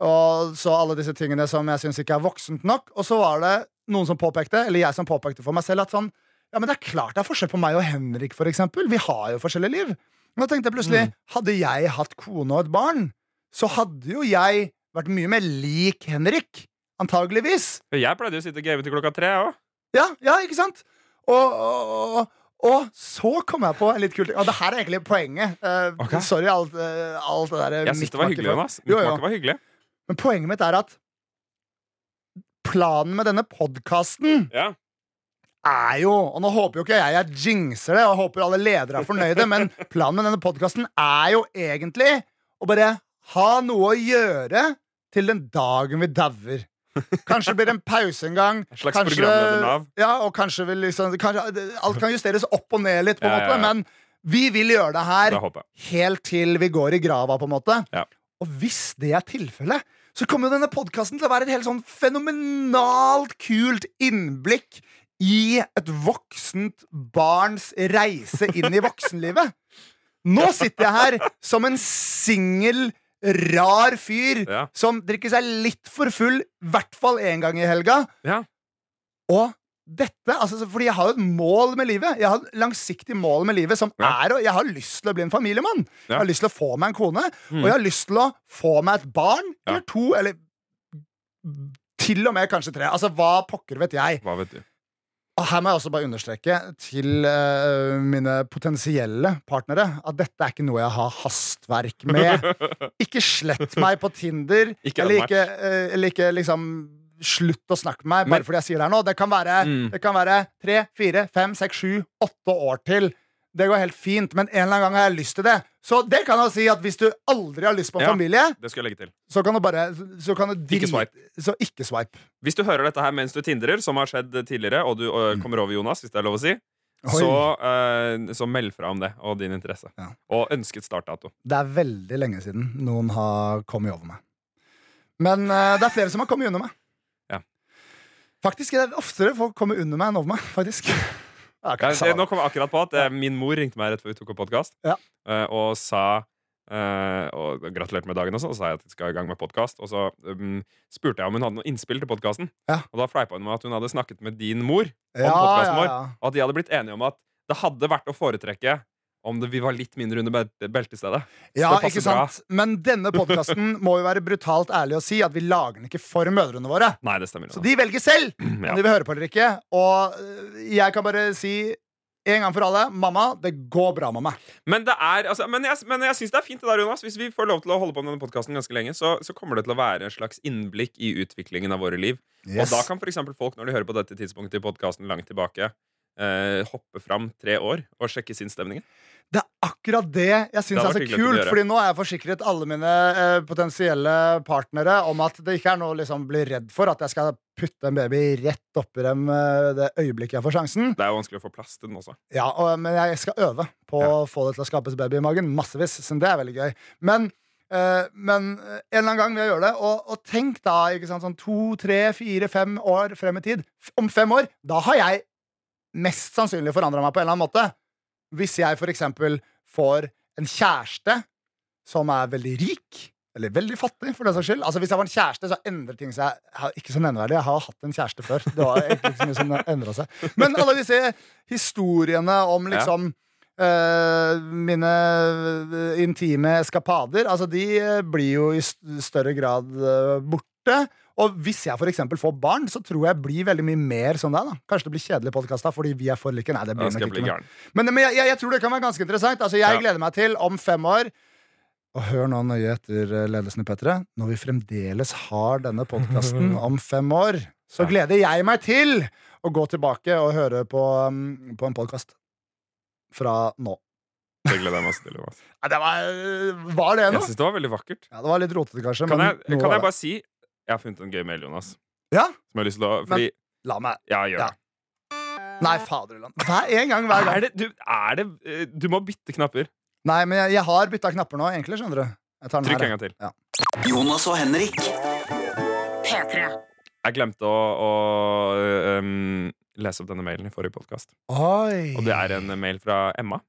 Og så alle disse tingene som jeg syns ikke er voksent nok. Og så var det noen som påpekte, eller jeg som påpekte for meg selv, at sånn Ja, men det er klart det er forskjell på meg og Henrik, for eksempel. Vi har jo forskjellige liv. Men da tenkte jeg plutselig,
Mm.
hadde jeg hatt kone og et barn, så hadde jo jeg vært mye mer lik Henrik. Antageligvis.
Jeg pleide jo å sitte og game til klokka tre, jeg òg.
Ja, ja, ikke sant? Og, og, og, og så kom jeg på en litt kul ting. Og det her er egentlig poenget. Eh,
Ok.
Sorry, alt, eh, alt det der
Jeg syns det var
mikkmakket.
hyggelig, Jonas.
Jo,
Mitt
jo.
makke var hyggelig.
Men poenget mitt er at planen med denne podkasten
Ja.
er jo Og nå håper jo ikke jeg jeg jinxer det, og håper alle ledere er fornøyde, men planen med denne podkasten er jo egentlig å bare ha noe å gjøre til den dagen vi dauer. Kanskje blir det en pause en gang.
En slags
kanskje,
programleder Nav.
ja, og kanskje vi liksom kanskje, Alt kan justeres opp og ned litt, på en
Ja, ja,
måte,
ja.
men vi vil gjøre det her
Det håper jeg.
helt til vi går i grava, på en måte.
Ja.
Og hvis det er tilfellet, så kommer jo denne podkasten til å være et helt sånn fenomenalt kult innblikk i et voksent barns reise inn i voksenlivet. Nå sitter jeg her som en singel, rar fyr
Ja.
som drikker seg litt for full, i hvert fall én gang i helga.
Ja.
Og dette, altså, så- fordi jeg har jo et mål med livet. Jeg har et langsiktig mål med livet som
Ja.
er å Jeg har lyst til å bli en familiemann. Jeg har lyst til å få meg en kone, og jeg har lyst til å få meg et barn
Mm. Ja.
eller to, eller til og med kanskje tre. Altså, hva pokker vet jeg.
Hva vet du.
Og her må jeg også bare understreke til eh, mine potensielle partnere at dette er ikke noe jeg har
<laughs>
hastverk med. Ikke slett meg på Tinder.
Ikke
eller,
en
ikke, eh, eller ikke liksom Slutt å snakke med meg bare
Men- Mm.
fordi jeg sier det her nå. Det kan være, det kan være tre, fire, fem, seks, sju, åtte år til. Det går helt fint, men en eller annen gang har jeg lyst til det. Så det kan jeg si at hvis du aldri har lyst på en
Ja.
familie,
Det skulle jeg legge til.
så kan du bare så kan du
Ikke swipe.
Så ikke swipe.
Hvis du hører dette her mens du tindrer, som har skjedd tidligere, og du øh, kommer over Jonas, hvis det er lov å si,
Oi.
så, øh, så meld fra om det og din interesse.
Ja.
Og ønsket startdato.
Det er veldig lenge siden noen har kommet over meg. Men eh, det er flere som har kommet under meg.
Ja.
Faktisk er det oftere folk kommer under meg enn over meg. faktisk Ja,
Ja,
kanskje
det-
samme.
nå kom jeg akkurat på at eh, min mor ringte meg rett før vi tok opp podkast,
Ja.
og sa eh, og gratulerte med dagen også, og så sa jeg at jeg skal i gang med podkast. Og så um, spurte jeg om hun hadde noe innspill til podkasten.
Ja.
Og da fleipa hun med at hun hadde snakket med din mor, om
Ja,
podcasten
ja,
vår.
ja.
og at de hadde blitt enige om at det hadde vært å foretrekke om det, vi var litt mindre under bel- beltestedet.
Ja,
det passer
ikke sant? Men denne podkasten må jo være brutalt ærlig og si at vi lager den ikke for mødrene våre.
Nei, det stemmer.
Så
Jonas.
de velger selv om
Ja.
de vil høre på eller ikke. Og eh, jeg kan bare si en gang for alle mamma, det går bra med meg.
Men, det er, altså, men jeg, men jeg syns det er fint, det der, Jonas. Hvis vi får lov til å holde på med denne podkasten ganske lenge, så, så kommer det til å være en slags innblikk i utviklingen av våre liv. Og da kan for eksempel folk, når de hører på dette tidspunktet i podkasten langt tilbake, eh, hoppe fram tre år og sjekke sinnsstemningen.
Det er akkurat det jeg syns
Det
er
hadde
så
vært hyggelig å
kult.
gjøre.
Fordi nå er jeg forsikret alle mine eh, potensielle partnere om at det ikke er noe å liksom, bli redd for at jeg skal putte en baby rett oppi dem eh, det øyeblikket jeg får sjansen.
Det er jo vanskelig å få plass til den også.
Ja, og, Men jeg skal øve på å få det til å skapes baby i magen. Massevis. Så det er veldig gøy. Men, eh, men en eller annen gang vil jeg gjøre det. Og, og tenk da, ikke sant, sånn to, tre, fire, fem år frem i tid. F- Om fem år, da har jeg mest sannsynlig forandra meg på en eller annen måte. Hvis jeg for eksempel får en kjæreste som er veldig rik, eller veldig fattig, for den saks skyld. Altså Hvis jeg var en kjæreste, så endrer ting seg ha- ikke så nevneverdig. Jeg har hatt en kjæreste før. Det var ikke så mye som endret seg. Men alle disse historiene om liksom eh, mine eh, intime eskapader, altså de eh, blir jo i st- større grad eh, borte. Og hvis jeg for eksempel får barn, så tror jeg blir veldig mye mer som deg. da Kanskje det blir kjedelig podkast da, fordi vi er for like. Nei, det
Da
blir
skal
nok
jeg bli
ikke. men-
gæren.
men, men jeg, jeg, jeg tror det kan være ganske interessant. Altså, jeg
Ja.
gleder meg til om fem år Og hør nå nøye etter eh, ledelsen i P3. Når vi fremdeles har denne
<laughs>
podkasten om fem år, så gleder jeg meg til å gå tilbake og høre på, um, på en podkast fra nå.
Det gleder jeg meg også til. Jonas.
Nei, det var, var det
Jeg
noe?
syns det var veldig vakkert.
Ja, det var litt rotete, kanskje.
Kan jeg,
men noe
kan
var
jeg
det.
bare si Jeg har funnet en gøy mail, Jonas.
Ja?
Som jeg har lyst til å Fordi
La meg
Ja, gjør
Ja.
det.
Nei, faderland. Hver en gang, hver gang.
Er det, du, er det eh, Du må bytte knapper.
Nei, men jeg, jeg har bytta knapper nå, egentlig, skjønner du. Jeg tar den
Trykk
her,
en
jeg.
gang til.
Jonas og Henrik.
Jeg glemte å, å eh, um, lese opp denne mailen i forrige podkast.
Oi.
Og det er en mail fra Emma.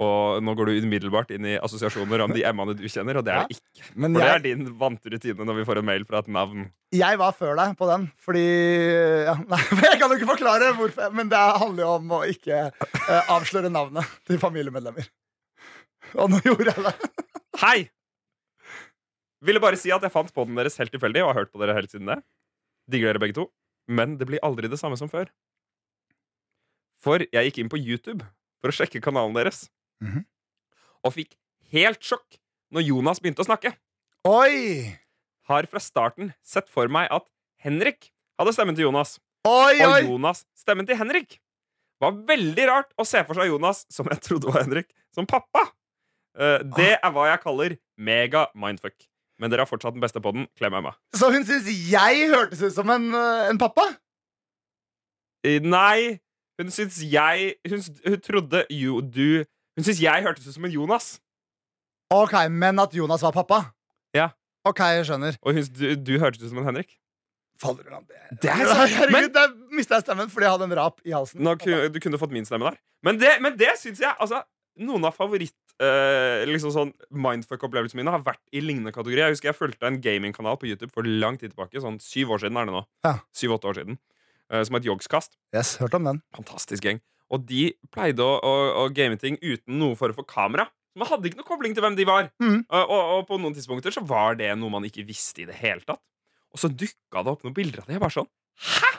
Og nå går du umiddelbart inn i assosiasjoner om de Emmaene du kjenner, og det er det ikke.
Men
For det
jeg-
er din vante rutine når vi får en mail fra et navn.
Jeg var før deg på den, fordi ja, <laughs> nei, Jeg kan jo ikke forklare hvorfor, men det handler jo om å ikke eh, avsløre navnet til familiemedlemmer. Og nå gjorde jeg det.
Hei! Ville bare si at jeg fant på den deres helt tilfeldig, og har hørt på dere helt siden det. Digger dere begge to. Men det blir aldri det samme som før. For jeg gikk inn på YouTube for å sjekke kanalen deres,
Mhm.
og fikk helt sjokk når Jonas begynte å snakke.
Oi!
Har fra starten sett for meg at Henrik hadde stemmen til Jonas.
Oi, oi!
og Jonas stemmen til Henrik. Var veldig rart å se for seg Jonas, som jeg trodde var Henrik, som pappa. Eh, det er hva jeg kaller mega mindfuck. Men dere har fortsatt den beste på den. Klem Emma.
Så hun syns jeg hørtes ut som en, eh, en pappa?
Eh, Nei, hun syns jeg Hun, s- hun trodde jo du Hun syns jeg hørtes ut som en Jonas.
Ok, men at Jonas var pappa?
Ja.
Ok, jeg skjønner.
Og hun syns du, du hørtes ut som en Henrik.
Faderland, det
Det er sant, men-
Herregud, der mista jeg stemmen fordi jeg hadde en rap i halsen.
Nå, ku- du kunne fått min stemme der. Men det, men det syns jeg altså, Noen av favoritt eh, liksom sånn mindfuck-opplevelsene mine har vært i lignende kategori. Jeg husker jeg fulgte en gamingkanal på YouTube for lang tid tilbake. Sånn syv år siden er det nå.
Ja.
Syv-åtte år siden. eh, som het Jogskast.
Yes, hørte om den.
Fantastisk gjeng. Og de pleide å, å, å game ting uten noe for å få kamera. Så Man hadde ikke noe kobling til hvem de var.
Mhm.
Eh, Og, og på noen tidspunkter så var det noe man ikke visste i det hele tatt. Og så dukka det opp noen bilder av det. Jeg bare sånn Hæ?!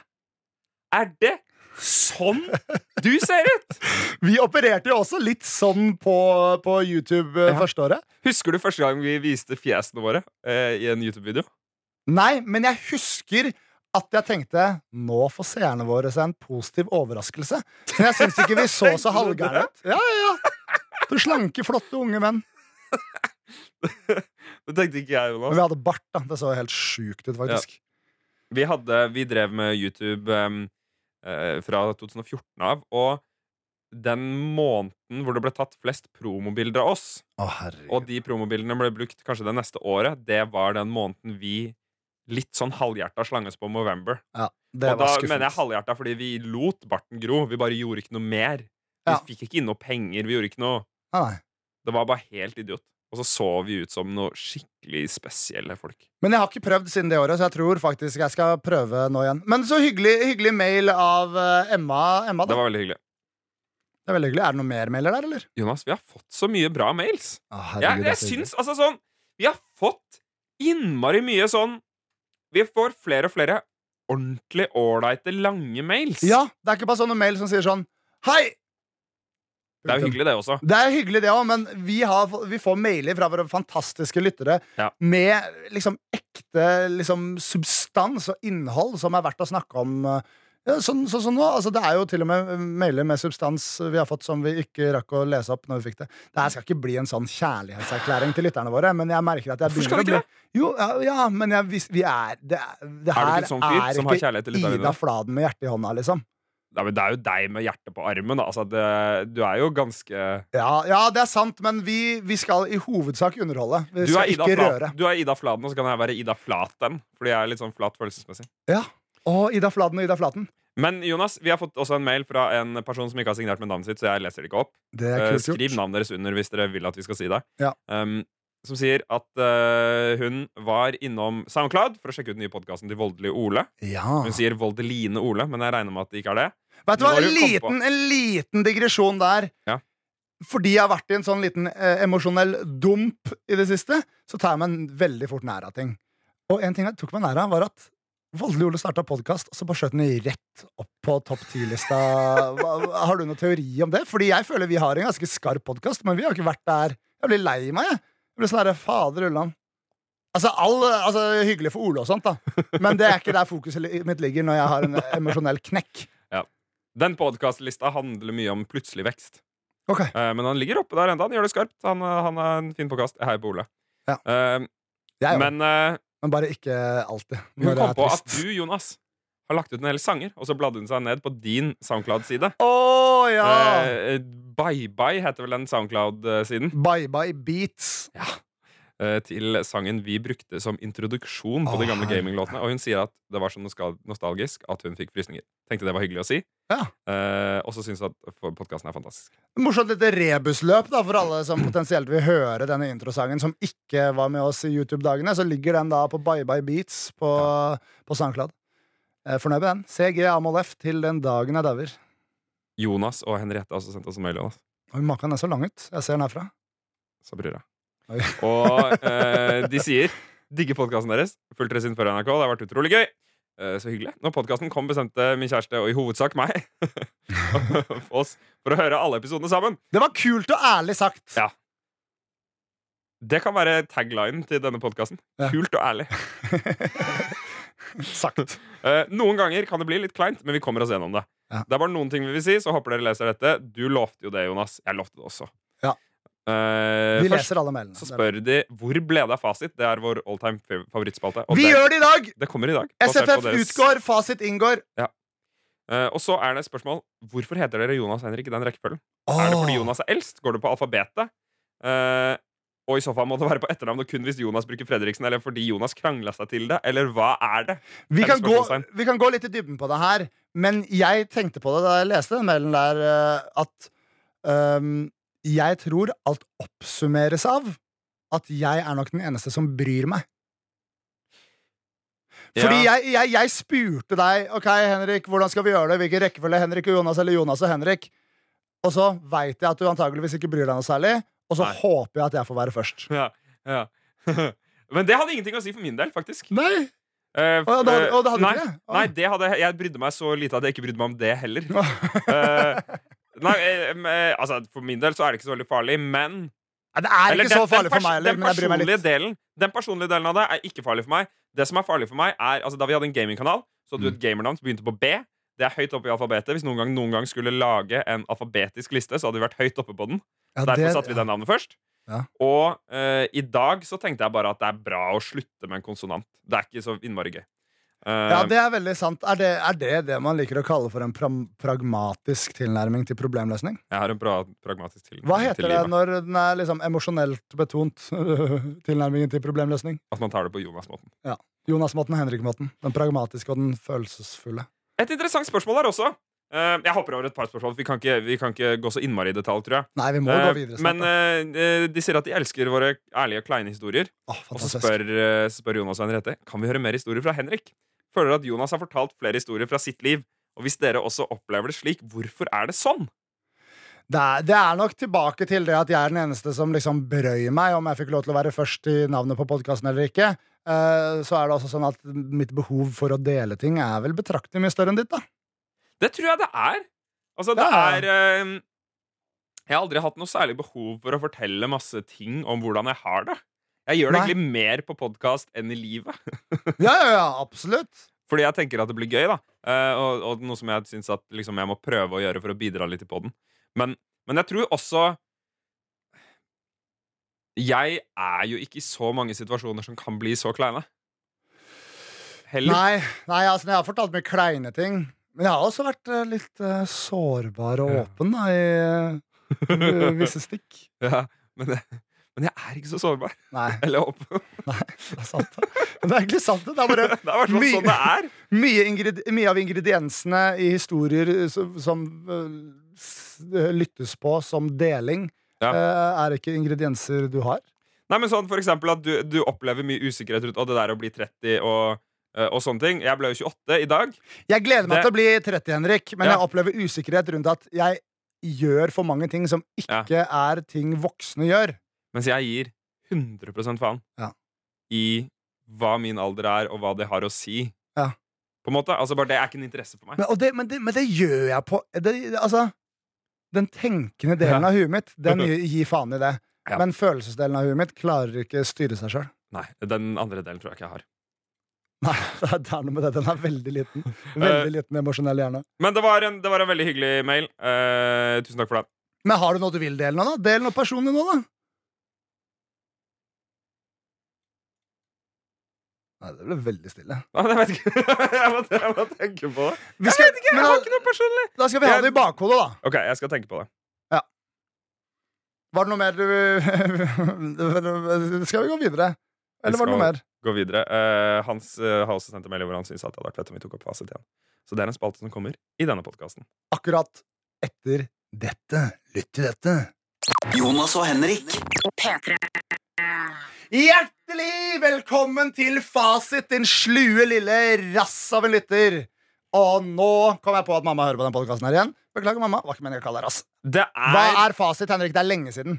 Er det sånn du ser ut!
Vi opererte jo også litt sånn på, på YouTube eh, første året.
Husker du første gang vi viste fjesene våre eh, i en YouTube-video?
Nei, men jeg husker at jeg tenkte nå får seerne våre seg en positiv overraskelse. Men jeg syns ikke vi <laughs> så så halvgærne ut. Ja, ja, ja. Du slanke, flotte unge menn.
Det tenkte ikke jeg,
Men
Jonas.
vi hadde bart, da. Det så helt sjukt ut, faktisk.
Vi, hadde, vi drev med YouTube em, eh, fra 2014 av, og den måneden hvor det ble tatt flest promobilder av oss,
Å,
og
herregud.
de promobildene ble brukt kanskje det neste året, det var den måneden vi litt sånn halvhjerta slanges på Movember.
Ja, det
og da mener
var
jeg
skuffende.
halvhjerta fordi vi lot barten gro. Vi bare gjorde ikke noe mer. Vi
Ja.
fikk ikke inn noe penger. Vi gjorde ikke noe
Nei, Ah, nei.
Det var bare helt idiot. Og så så vi ut som noe skikkelig spesielle folk.
Men jeg har ikke prøvd siden det året, så jeg tror faktisk jeg skal prøve nå igjen. Men så hyggelig, hyggelig mail av eh, Emma. Emma
Det
da.
var veldig hyggelig.
Det er veldig hyggelig. Er det noen mer mailer der, eller?
Jonas, vi har fått så mye bra mails.
Å,
Jeg,
herregud, det
jeg
er så hyggelig.
syns altså sånn Vi har fått innmari mye sånn Vi får flere og flere ordentlig ålreite, lange mails.
Ja, det er ikke bare sånne mail som sier sånn Hei!
Det er jo hyggelig, det også.
Det er hyggelig, det òg, men vi, har, vi får mailer fra våre fantastiske lyttere
Ja.
med liksom ekte liksom, substans og innhold som er verdt å snakke om. Ja, sånn sånn som nå. Altså, det er jo til og med mailer med substans vi har fått som vi ikke rakk å lese opp. når vi fikk Det Det her skal ikke bli en sånn kjærlighetserklæring til lytterne våre, men jeg merker at jeg
Hvorfor skal
begynner å
det
bli Jo, ja, ja, men jeg, vis- vi er Det, er-
Er
det
du
her
ikke sånn fyr
er
som har
ikke
kjærlighet til lytterne
Ida
dine?
Fladen med hjertet i hånda, liksom.
Nei, men det er jo deg med hjertet på armen. da. Altså, det, du er jo ganske
Ja, ja, det er sant, men vi, vi skal i hovedsak underholde. Vi
Du er,
skal
Ida
ikke røre.
Flaten, du er Ida Fladen, og så kan jeg være Ida Flaten. Fordi jeg er litt sånn flat følelsesmessig.
Ja. Og Ida Fladen og Ida Flaten.
Men Jonas, vi har fått også en mail fra en person som ikke har signert med navnet sitt, så jeg leser det ikke opp.
Det er
Eh,
kult gjort.
Skriv navnet deres under hvis dere vil at vi skal si det.
Ja.
Um, som sier at eh, hun var innom SoundCloud for å sjekke ut den nye podkasten til Voldelige Ole.
Ja.
Hun sier Voldeline Ole, men jeg regner med at det ikke er det.
Vet du hva,
Nå har
en
du kommet på.
liten, en liten digresjon der.
Ja.
Fordi jeg har vært i en sånn liten eh, emosjonell dump i det siste, så tar jeg meg en veldig fort nær av ting. Og en ting jeg tok meg nær av, var at Voldelig Ole starta podkast, og så bare skjøt den rett opp på topp 10-lista. Hva- Har du noen teori om det? Fordi jeg føler vi har en ganske skarp podkast, men vi har ikke vært der. Jeg blir lei meg, jeg. jeg blir sånn herre fader ulland. Altså, all, altså, hyggelig for Ole og sånt, da. Men det er ikke der fokuset li- mitt ligger når jeg har en emosjonell knekk.
Den podkastlista handler mye om plutselig vekst.
Ok.
Eh, men han ligger oppe der enda, han gjør det skarpt. Han, eh, han er en fin podkast. Jeg heier på Ole.
Ja.
Eh,
Jeg, men,
men eh,
men bare ikke alltid.
hun
Når det
kom
er
på at
trist.
du, Jonas, har lagt ut en hel sanger, og så bladde hun seg ned på din SoundCloud-side.
Å ja!
Eh, bye Bye heter vel den SoundCloud-siden.
Bye bye beats.
eh, til sangen vi brukte som introduksjon på de
Å,
gamle
herre.
gaminglåtene. Og hun sier at det var så noska- nostalgisk at hun fikk frysninger. Tenkte det var hyggelig å si.
Ja.
Eh, og så syns hun at podkasten er fantastisk.
Morsomt lite rebusløp da, for alle som potensielt vil høre denne introsangen som ikke var med oss i YouTube-dagene. Så ligger den da på Bye Bye Beats på, på SoundCloud. Eh, Fornøyd med den. CG Amol F til den dagen jeg dauer.
Jonas og Henriette har også sendt oss en mail. Jonas.
Oi, Maken er så lang ut. Jeg ser den herfra.
Så bryr jeg.
Oi. <laughs>
Og eh, de sier digger podkasten deres. Fulgt dere siden før NRK. Det har vært utrolig gøy. Eh, så hyggelig. Når podkasten kom, bestemte min kjæreste, og i hovedsak
<laughs>
meg, <laughs> for oss for å høre alle episodene sammen.
Det var kult og ærlig sagt.
Ja. Det kan være tagline til denne podkasten.
Ja.
Kult og ærlig.
<laughs> Sagt.
Eh, noen ganger kan det bli litt kleint, men vi kommer oss gjennom det.
Ja.
Det er bare noen ting vi vil si, så håper dere leser dette. Du lovte jo det, Jonas. Jeg lovte det også.
Ja.
Eh,
Vi
først
leser alle mailene.
så
Det er
spør de hvor ble det av fasit. Det er vår alltime fav- favorittspalte.
bra. Vi
det,
gjør det i dag!
det kommer i dag. basert på
SFF
deres-
utgår, fasit inngår.
Eh, og så er det et spørsmål hvorfor heter dere Jonas Henrik i den rekkefølgen. Er det
Åh.
fordi Jonas er eldst? Går det på alfabetet? Eh, og i så fall må det være på etternavn og kun hvis Jonas bruker Fredriksen, eller fordi Jonas krangla seg til det, eller hva er det?
Vi
Er
kan,
det
gå,
spørsmålstegn?
vi kan gå litt i dybden på det her, men jeg tenkte på det da jeg leste den mailen der, eh, at ehm, jeg tror alt oppsummeres av at jeg er nok den eneste som bryr meg. Fordi
Ja.
jeg, jeg, jeg spurte deg Ok, Henrik, hvordan skal vi gjøre det? Hvilken rekkefølge? Henrik og Jonas eller Jonas og Henrik? Og så veit jeg at du antageligvis ikke bryr deg noe særlig, og så
Nei.
håper jeg at jeg får være først.
<laughs> Ja, ja. Men det hadde ingenting å si for min del, faktisk.
Nei
Eh,
Å, ja, det hadde-
eh,
å, det hadde
nei,
ikke det? Å.
nei, det hadde jeg- Jeg brydde meg så lite at jeg ikke brydde meg om det
<laughs>
heller. Eh, nei, eh, em, eh, altså For min del så er det ikke så veldig farlig, men
Nei, det er
eller
ikke så farlig for
pers-
meg heller,
den
men jeg bryr meg
personlige
litt.
Delen, den personlige delen av det er ikke farlig for meg. Det som er farlig for meg er, altså Da vi hadde en gamingkanal, så
Mm.
hadde du et gamernavn som begynte på B. Det er høyt oppe i alfabetet. Hvis noen gang, noen gang skulle lage en alfabetisk liste, så hadde vi vært høyt oppe på den.
Ja,
Derfor
det-
satte vi det navnet først.
Ja.
Og eh, i dag så tenkte jeg bare at det er bra å slutte med en konsonant. Det er ikke så innmari gøy. Eh,
Ja, det er veldig sant. Er det, er det det man liker å kalle for en pram- pragmatisk tilnærming til problemløsning?
Jeg har en bra, pragmatisk tilnærming
Hva heter
til
det
livet.
når den er liksom emosjonelt betont, <laughs> tilnærmingen til problemløsning?
At man tar det på Jonas-måten.
Jonas-måten og Henrik-måten. Den pragmatiske og den følelsesfulle.
Et interessant spørsmål her også. Eh, jeg hopper over et par spørsmål. for Vi kan ikke, vi kan ikke gå så innmari i detalj, tror jeg.
Nei, vi må gå
Eh,
videre
Men
snart. da.
eh, de sier at de elsker våre ærlige og kleine historier.
Åh,
Og så
fantastisk.
spør, eh, spør Jonas og Henriette Kan vi høre mer historier fra Henrik. Føler at Jonas har fortalt flere historier fra sitt liv. Og hvis dere også opplever det slik, hvorfor er det sånn?
Det er, det er nok tilbake til det at jeg er den eneste som liksom brøy meg om jeg fikk lov til å være først i navnet på podkasten eller ikke. Eh, Så er det også sånn at mitt behov for å dele ting er vel betraktelig mye større enn ditt,
<laughs>
da.
Det tror jeg det er. Altså, det
Ja.
er eh, Jeg har aldri hatt noe særlig behov for å fortelle masse ting om hvordan jeg har det. Jeg gjør det
Nei.
egentlig mer på podkast enn i livet.
Ja, ja, ja, absolutt.
Fordi jeg tenker at det blir gøy, da. Eh, og, og noe som jeg syns at liksom, jeg må prøve å gjøre for å bidra litt i podden. Men, men jeg tror også Jeg er jo ikke i så mange situasjoner som kan bli så kleine. Heller.
Nei, nei altså, jeg har fortalt mye kleine ting. Men jeg har også vært eh, litt eh, sårbar og åpen da, i
<laughs>
eh, visse stikk.
Ja, men, eh, men jeg er ikke så sårbar.
Nei,
Eller <laughs> åpen.
det er sant. Men det er egentlig sant. Det Det er
Det
bare
er i hvert fall sånn det er.
mye, ingredi- mye av ingrediensene i historier eh, som, som eh, s- eh, lyttes på som deling,
Ja.
eh, er ikke ingredienser du har.
Nei, men sånn for eksempel at du, du opplever mye usikkerhet rundt og det der å bli 30 og, eh, og sånne ting. Jeg ble jo 28 i dag.
Jeg gleder meg
Det-
til å bli 30, Henrik, men
Ja.
jeg opplever usikkerhet rundt at jeg gjør for mange ting som
Ja.
ikke er ting voksne gjør.
Mens jeg gir 100 faen
Ja.
i hva min alder er, og hva det har å si.
Ja.
På en måte, altså bare Det er ikke en interesse for meg.
Men, og det, men, det, men det gjør jeg på det, Altså, den tenkende delen
Ja.
av huet mitt, den gir, gir faen i det.
Ja.
Men følelsesdelen av huet mitt klarer ikke styre seg sjøl.
Nei, Den andre delen tror jeg ikke jeg har.
<laughs> Nei, det er- det er noe med det. Den er veldig
<laughs>
liten.
Eh.
Veldig liten emosjonell hjerne.
Men det var en, det var en veldig hyggelig mail. Eh, tusen takk for den. <laughs>
Men har du noe du vil dele nå, da? Del noe personlig nå, da. Nei, det ble veldig stille.
Nei, men jeg vet ikke. jeg, må, jeg må tenke på det.
Vi skal,
Jeg
men,
har
da,
ikke noe personlig.
da skal vi ha det i bakhodet, da.
Ok, jeg skal tenke på det.
Var det noe mer du <laughs> Skal vi gå videre? Eller var det noe
skal-
mer?
Gå videre. Eh, Hans eh, har også sendt en mail hvor han syns det hadde vært fett om vi tok opp fasit igjen. Så det er en spalte som kommer i denne podkasten.
akkurat etter dette. Lytt til dette.
Jonas og Henrik.
Hjertelig velkommen til Fasit, din slue lille rass av en lytter. Og nå kom jeg på at mamma hører på den podkasten her igjen. Beklager, mamma. Var ikke meningen å kalle deg rass.
Det er
Hva er fasit, Henrik? Det er lenge siden.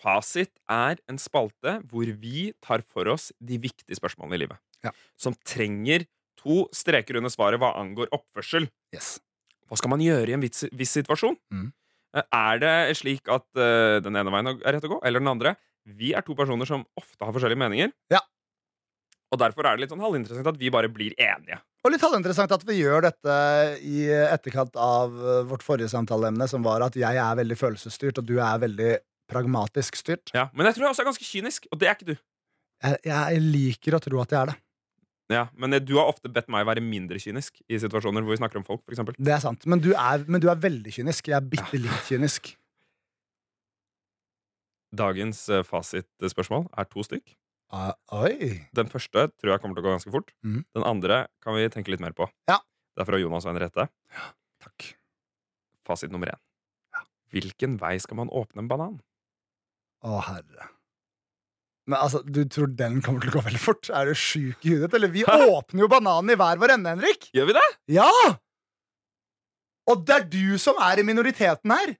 Fasit er en spalte hvor vi tar for oss de viktige spørsmålene i livet.
Ja.
Som trenger to streker under svaret hva angår oppførsel.
Yes.
Hva skal man gjøre i en viss, viss situasjon?
Mm.
Eh, Er det slik at eh, den ene veien er rett å gå, eller den andre? Vi er to personer som ofte har forskjellige meninger.
Ja.
Og derfor er det litt sånn halvinteressant at vi bare blir enige.
Og litt halvinteressant at vi gjør dette i etterkant av eh, vårt forrige samtaleemne, som var at jeg er veldig følelsesstyrt, og du er veldig pragmatisk styrt.
Ja. Men jeg tror jeg også er ganske kynisk, og det er ikke du.
Jeg, jeg liker å tro at jeg er det.
Ja, Men eh, du har ofte bedt meg være mindre kynisk i situasjoner hvor vi snakker om folk, for eksempel.
Det er sant. Men du er, men du er veldig kynisk. Jeg er bitte litt kynisk.
Dagens eh, fasitspørsmål er to stykk.
Ah, oi.
Den første tror jeg kommer til å gå ganske fort.
Mhm.
Den andre kan vi tenke litt mer på.
Ja.
Det er fra Jonas og Henriette.
Takk.
Fasit nummer én. Hvilken vei skal man åpne en banan?
Å, herre. Men altså, Du tror den kommer til å gå veldig fort? Er du sjuk i hudet? <laughs> Eller vi åpner jo bananen i hver vår ende, Henrik!
Gjør vi det?
Ja! Og det er du som er i minoriteten her!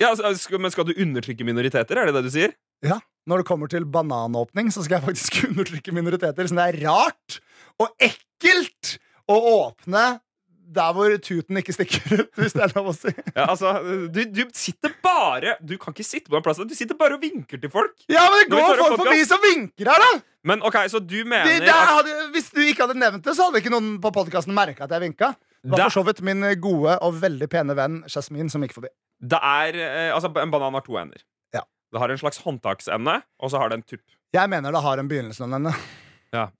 Ja, altså, skal, men skal du undertrykke minoriteter? Er det det du sier?
<laughs> Når det kommer til bananåpning, så skal jeg faktisk undertrykke minoriteter. Så det er rart og ekkelt å åpne der hvor tuten ikke stikker ut, hvis det er lov å si.
Ja, altså, du, du sitter bare Du kan ikke sitte på den plassen. Du sitter bare og vinker til folk.
Ja, men det
Når vi tar
går
opp
folk forbi
podcast-
som vinker her, da!
Men ok, så du mener
Det, det
at
hadde, hvis du ikke hadde nevnt det, så hadde ikke noen på podkasten merka at jeg vinka.
Da-
Det var for så vidt min gode og veldig pene venn Jasmin som gikk forbi.
det er eh, Altså, en banan har to ender.
Ja.
Det har en slags håndtaksende, og så har det en tupp.
Jeg mener det har en begynnelse om henne.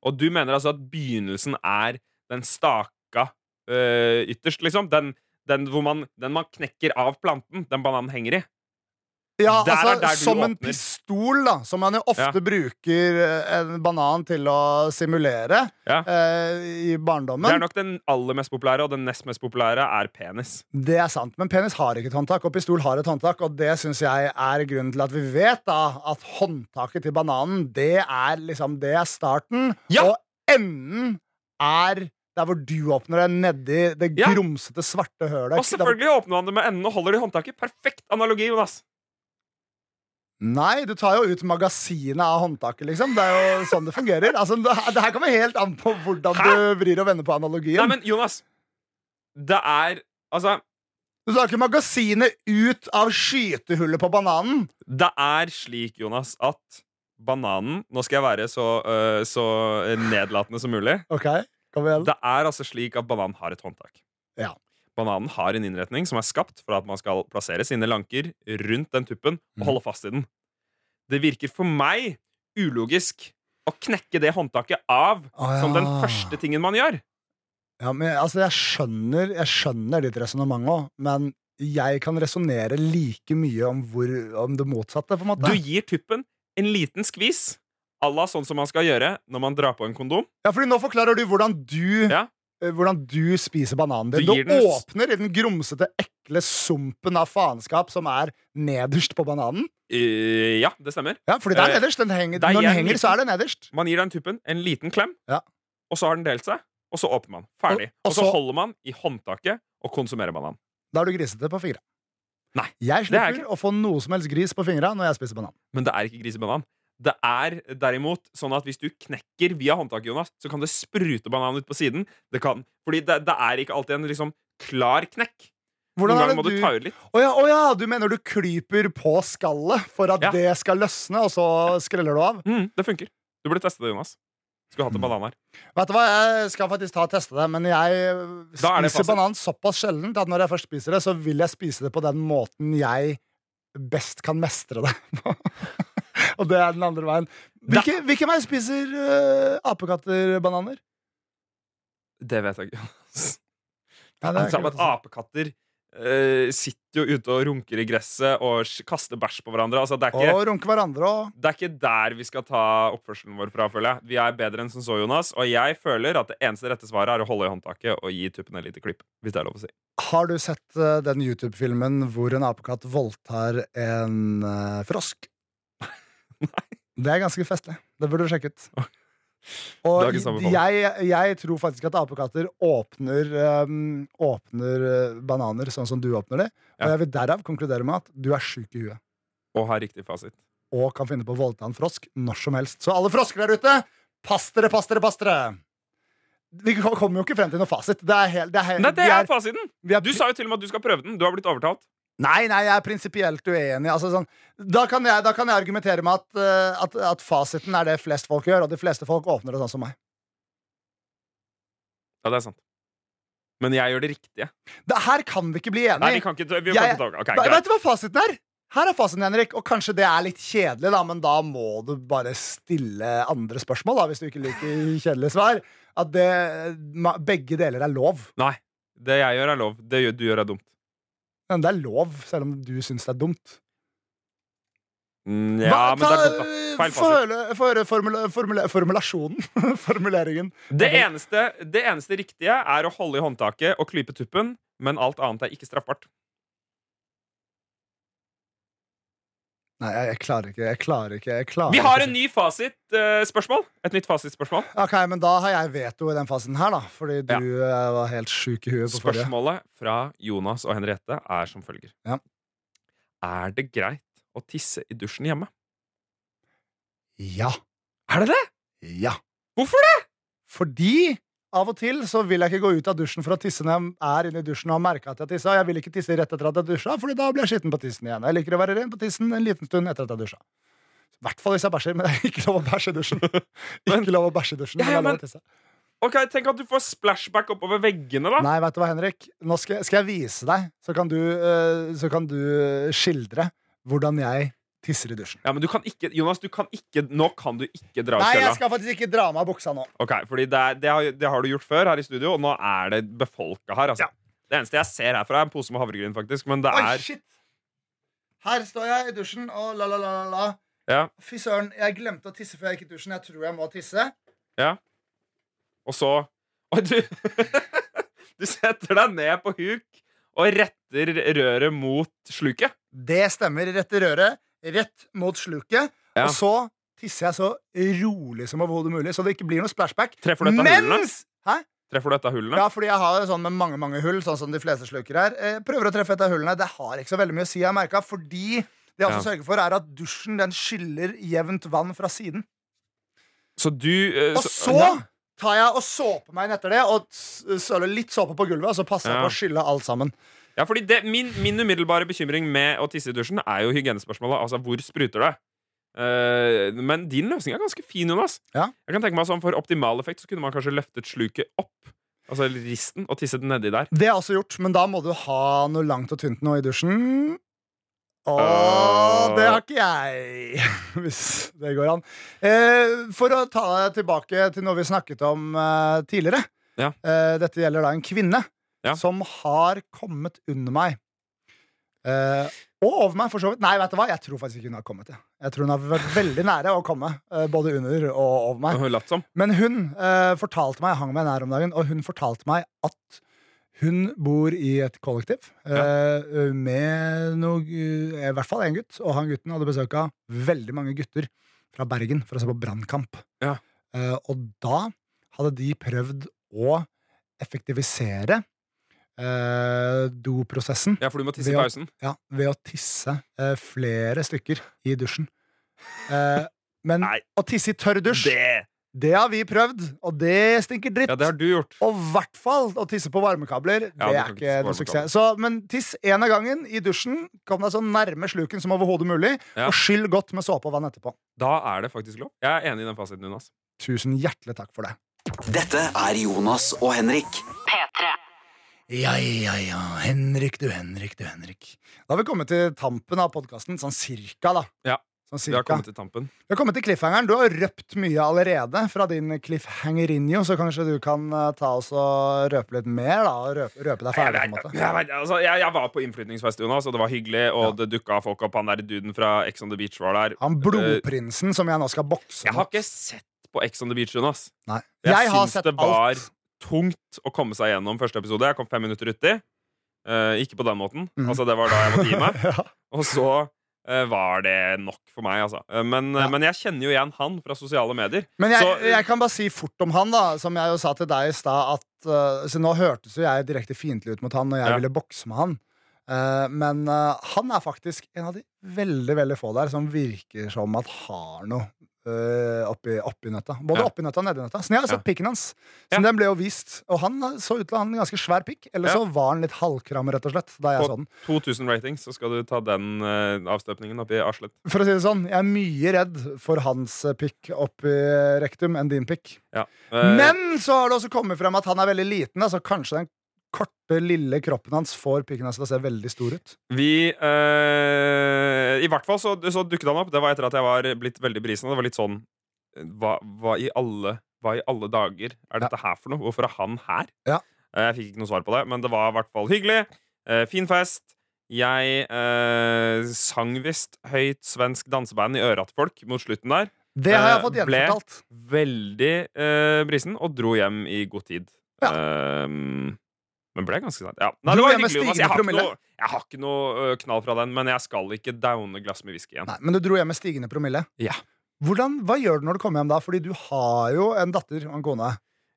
Og du mener altså at begynnelsen er den staka eh, ytterst, liksom? Den, den, hvor man, den man knekker av planten den bananen henger i?
Ja,
Der er der
altså,
du
som en
åpner.
pistol, da, som man jo ofte
Ja.
bruker eh, en banan til å simulere
Ja.
eh, i
Det er
barndommen.
nok den aller mest populære, og den nest mest populære er penis.
Det er sant, men penis har ikke et håndtak, og pistol har et håndtak, og det syns jeg er grunnen til at vi vet da at håndtaket til bananen, det er liksom Det er starten,
Ja.
og enden er der hvor du åpner det, nedi det
Ja.
grumsete, svarte hølet.
Og selvfølgelig åpner man det med enden og holder det i håndtaket. Perfekt analogi, Jonas.
Nei, du tar jo ut magasinet av håndtaket, liksom. Det er jo sånn det fungerer. Altså, det, det her kommer helt an på hvordan du vrir og vender på analogien.
Nei, men Jonas. Det er Altså,
Du tar ikke magasinet ut av skytehullet på bananen.
det er slik, Jonas, at bananen Nå skal jeg være så, øh, så nedlatende som mulig.
Ok, kom igjen.
Det er altså slik at bananen har et håndtak.
Ja.
Bananen har en innretning som er skapt for at man skal plassere sine lanker rundt den tuppen
Mhm.
og holde fast i den. Det virker for meg ulogisk å knekke det håndtaket av
Å,
som den
ja.
første tingen man gjør.
Ja, men, altså, jeg skjønner, jeg skjønner ditt resonnement òg, men jeg kan resonnere like mye om, hvor, om det motsatte, på en måte.
Du gir tuppen en liten skvis, à la sånn som man skal gjøre når man drar på en kondom.
Ja, fordi nå forklarer du hvordan du
Ja.
eh, Hvordan du spiser bananen din.
Du
Du,
gir den-
åpner i den grumsete, ekle sumpen av faenskap som er nederst på bananen.
Eh, ja, det stemmer.
Ja, fordi det
Eh,
er nederst. Den henger,
det er
når den
igjen
henger, så er det nederst.
Man gir den tuppen en liten klem,
Ja.
og så har den delt seg. Og så åpner man. Ferdig.
Og- og
Og så
så-
holder man i håndtaket og konsumerer banan.
Da er du grisete på fingra.
Nei,
jeg
det er
slipper å få noe som helst gris på fingra når jeg spiser banan.
Men det er ikke grisebanan. Det er derimot sånn at hvis du knekker via håndtaket, Jonas, så kan det sprute banan ut på siden. Det kan, fordi det, det er ikke alltid en liksom klar knekk.
Hvordan
Noen
er
ganger må
det
du
du
ta ut litt.
Å ja, å ja, du mener du klyper på skallet for at
Ja.
det skal løsne, og så skreller du av?
Mm, det funker. Du burde teste det, Jonas. Skulle
Mm.
hatt en banan her.
Vet du hva, Jeg skal faktisk ta og teste det, men jeg
Da er det
spiser
fasit.
banan såpass sjelden at når jeg først spiser det, så vil jeg spise det på den måten jeg best kan mestre det på. <laughs> og det er den andre veien. Hvilke, hvilken vei spiser øh, apekatter bananer?
Det vet jeg ikke. Jonas.
Ja, det er
Han sa
ikke
at
lov å si.
apekatter eh, sitter jo ute og runker i gresset og sj- kaster bæsj på hverandre. Altså, det, er ikke,
Og runke hverandre og
det er ikke der vi skal ta oppførselen vår fra, føler jeg. Vi er bedre enn som så, Jonas. Og jeg føler at det eneste rette svaret er å holde i håndtaket og gi tuppen et lite klipp. Hvis det er lov å si.
Har du sett øh, den YouTube-filmen hvor en apekatt voldtar en øh,
<laughs>
frosk? Det er ganske festlig. Det burde du sjekke ut. Og
Dagens anbefaling.
jeg, jeg tror faktisk at apekatter åpner, øhm, åpner øh, bananer sånn som du åpner de.
Ja.
Og jeg vil derav konkludere med at du er sjuk i huet
Og har riktig fasit.
og kan finne på å voldta en frosk når som helst. Så alle frosker der ute, pass dere, pass dere, pass dere! Vi ko- kommer jo ikke frem til noe fasit. Det er helt, det er, helt-
Nei, det
vi
er
er,
fasiten!
vi er,
Du sa jo til og med at du skal prøve den. Du har blitt overtalt.
Nei, nei, jeg er prinsipielt uenig. Altså, sånn, da, kan jeg, da kan jeg argumentere med at, eh, at, at fasiten er det flest folk gjør, og de fleste folk åpner det sånn som meg.
Ja, det er sant. Men jeg gjør det riktige.
Det her kan vi ikke bli enige
Nei, vi kan ikke, vi kan
Jeg-
ikke ta Ok,
Ve-
greit.
Vet du hva fasiten er? Her er fasiten, Henrik, og kanskje det er litt kjedelig, da, men da må du bare stille andre spørsmål, da, hvis du ikke liker kjedelige svar. At det, ma- begge deler er lov.
Nei. Det jeg gjør, er lov. Det gjør- du gjør, er dumt.
Men det er lov, selv om du syns det er dumt.
Mm, Ja,
Hva-
men det er
ta-
dumt, da. Feil
Få
fasit.
høre- få høre formula, formula, formulasjonen. <laughs> Formuleringen.
Det eneste, det eneste riktige er å holde i håndtaket og klype tuppen, men alt annet er ikke straffbart.
Nei, jeg, jeg klarer ikke. Jeg klarer ikke. Jeg klarer
Vi har
ikke.
en ny fasitspørsmål. Et nytt fasitspørsmål.
Ok, men da har jeg veto i den fasen her, da. Fordi du eh, var helt sjuk i huet på forrige.
Spørsmålet fra Jonas og Henriette er som følger.
Ja.
Er det greit å tisse i dusjen hjemme?
Ja.
Er det det?
Ja.
Hvorfor det?
Fordi av og til så vil jeg ikke gå ut av dusjen for å tisse når jeg er inne i dusjen og har merket at jeg tissa. Jeg vil ikke tisse rett etter at jeg dusja, Fordi da blir jeg skitten på tissen igjen. Jeg liker å være ren på tissen en liten stund etter at jeg dusja. I hvert fall hvis jeg bæsjer, men <laughs> det er ikke lov å bæsje i
<laughs>
dusjen. Ikke lov å bæsje i dusjen, men
Ja,
det
ja,
er lov
men-
å tisse.
Ok, Tenk at du får splashback oppover veggene, da.
Nei, vet du hva, Henrik? Nå skal jeg, skal jeg vise deg, så kan, du, eh, så kan du skildre hvordan jeg tisser i dusjen.
Ja, men du kan ikke, Jonas, du kan ikke, nå kan du ikke dra ut
Nei, jeg
kølla.
skal faktisk ikke dra av meg buksa nå.
Ok, fordi det, er, det, har, det har du gjort før her i studio, og nå er det befolka her. altså. Det eneste jeg ser herfra, er en pose med havregryn, faktisk. Men det
Oi,
er
shit! Her står jeg i dusjen og la, la, la, la, la.
ja,
Fy søren, jeg glemte å tisse før jeg gikk i dusjen. Jeg tror jeg må tisse.
ja. Og så Oi, du <laughs> Du setter deg ned på huk og retter røret mot sluket.
Det stemmer. Rett i røret, rett mot sluket.
Ja.
Og så tisser jeg så rolig som overhodet mulig, så det ikke blir noe splashback.
Treffer du dette hullene?
Mens Hæ?
Treffer du dette hullene?
Ja, fordi jeg har sånn med mange mange hull, sånn som de fleste sluker her. Eh, prøver å treffe etter hullene. Det har ikke så veldig mye å si, jeg har merket, fordi det jeg også
Ja.
sørger for, er at dusjen den skyller jevnt vann fra siden.
Så du eh,
Og
så-
så tar jeg og såper meg inn etter det, og s- søler litt såpe på gulvet, og så passer jeg
Ja.
på å skylle alt sammen.
Ja, fordi det, min, min umiddelbare bekymring med å tisse i dusjen er jo hygienespørsmålet. Altså, hvor spruter det? Eh, men din løsning er ganske fin, Jonas.
Ja.
Jeg kan tenke meg at sånn For optimal effekt så kunne man kanskje løftet sluket opp. Altså risten, og tisset nedi der.
Det har jeg også gjort, men da må du ha noe langt og tynt nå i dusjen. Å,
Øh.
det har ikke jeg, <laughs> hvis det går an. Eh, for å ta deg tilbake til noe vi snakket om eh, tidligere.
Ja.
Eh, dette gjelder da en kvinne
Ja.
som har kommet under meg. Eh, og over meg, for så vidt. Nei, vet du hva? jeg tror faktisk ikke hun har kommet. Jeg, jeg tror hun har vært veldig nære å komme, eh, både under og over meg.
Og hun latt som.
Men hun eh, fortalte meg, jeg hang meg nær om dagen, og hun fortalte meg at hun bor i et kollektiv eh, med noe, eh, i hvert fall én gutt, og han gutten hadde besøk av veldig mange gutter fra Bergen for å se på Brannkamp.
Ja.
Eh, og da hadde de prøvd å effektivisere eh, doprosessen
Ja, for du må tisse i
Ved å-
pausen.
ja, ved å tisse eh, flere stykker i dusjen. Eh, men
Nei.
å tisse i tørr dusj
Det.
det har vi prøvd, og det stinker dritt.
Ja, det har du gjort.
Og i hvert fall å tisse på varmekabler.
Ja,
det
du kan
er
ikke
ikke
tisse på
noe suksess. Så, men tiss én av gangen i dusjen. Kom deg så nærme sluken som overhodet mulig,
Ja.
og skyll godt med såpe og vann etterpå.
Da er det faktisk lov. Jeg er enig i den fasiten, Jonas.
Tusen hjertelig takk for det.
Dette er Jonas og Henrik.
Ja, ja, ja. Henrik, du Henrik, du Henrik. Da har vi kommet til tampen av podkasten, sånn cirka, da.
Ja,
Sånn
Vi har
cirka.
kommet til tampen.
Vi har kommet til cliffhangeren. Du har røpt mye allerede fra din cliffhangerinjo, så kanskje du kan eh, ta oss og røpe litt mer, da. og Røpe, røpe
Jeg,
deg ferdig, på en
vet,
måte.
jeg, vet, altså, jeg, jeg var på innflytningsfest, Jonas, og det var hyggelig. Og det dukka folk opp. Han der duden fra Ex on the Beach var der.
Han blodprinsen som jeg nå skal bokse
Jeg har
mot.
ikke sett på Ex on the Beach, Jonas.
Nei.
Jeg,
Jeg har
syns
sett
det var
alt.
tungt å komme seg gjennom første episode. Jeg kom fem minutter uti. Eh, ikke på den måten.
Mhm.
Altså, det var da jeg måtte gi meg.
<laughs> Ja.
Og så eh, var det nok for meg, altså. Eh, men, eh,
Ja.
men jeg kjenner jo igjen han fra sosiale medier.
Men jeg,
Så- eh,
jeg kan bare si fort om han, da, som jeg jo sa til deg i stad, at eh, så Nå hørtes jo jeg direkte fiendtlig ut mot han når jeg
Ja.
ville bokse med han. Eh, men eh, han er faktisk en av de veldig veldig få der som virker som at har noe eh, oppi, oppi nøtta. Både
Ja.
oppi nøtta og nedi nøtta. Så jeg har sett pikken hans.
Ja.
Så den ble jo vist. Og han eh, så ut til å ha en ganske svær pikk. Eller
Ja.
så var han litt halvkram, rett og slett. Da jeg så
På
den.
2000 ratings, så skal du ta den eh, avstøpningen oppi arslet.
For å si det sånn, jeg er mye redd for hans eh, pikk oppi rektum enn din pikk.
Ja. Eh,
Men så har det også kommet frem at han er veldig liten, da, så kanskje den korte, lille kroppen hans får pikken hans til å se veldig stor ut.
Vi eh, I hvert fall så, så dukket han opp. Det var etter at jeg var blitt veldig brisen. og Det var litt sånn eh, Hva, hva, i, alle, hva i alle dager er dette her for noe? Hvorfor er han her?
Ja.
Eh, jeg fikk ikke noe svar på det, men det var i hvert fall hyggelig. Eh, fin fest. Jeg eh, sang visst høyt svensk danseband i øret til folk mot slutten der.
Det har jeg
Eh,
fått
ble-
gjenfortalt.
Veldig eh, brisen, og dro hjem i god tid. Eh, men ble ganske seint. Ja. Nei, det
Dro
var
hjem med
hyggelig, Jonas.
stigende
Jeg har ikke
promille.
noe, jeg har ikke noe eh, knall fra den, men jeg skal ikke downe glass med whisky igjen.
Nei, men du dro hjem med stigende promille.
Ja.
Hvordan, hva gjør du når du kommer hjem da? Fordi du har jo en datter og en kone.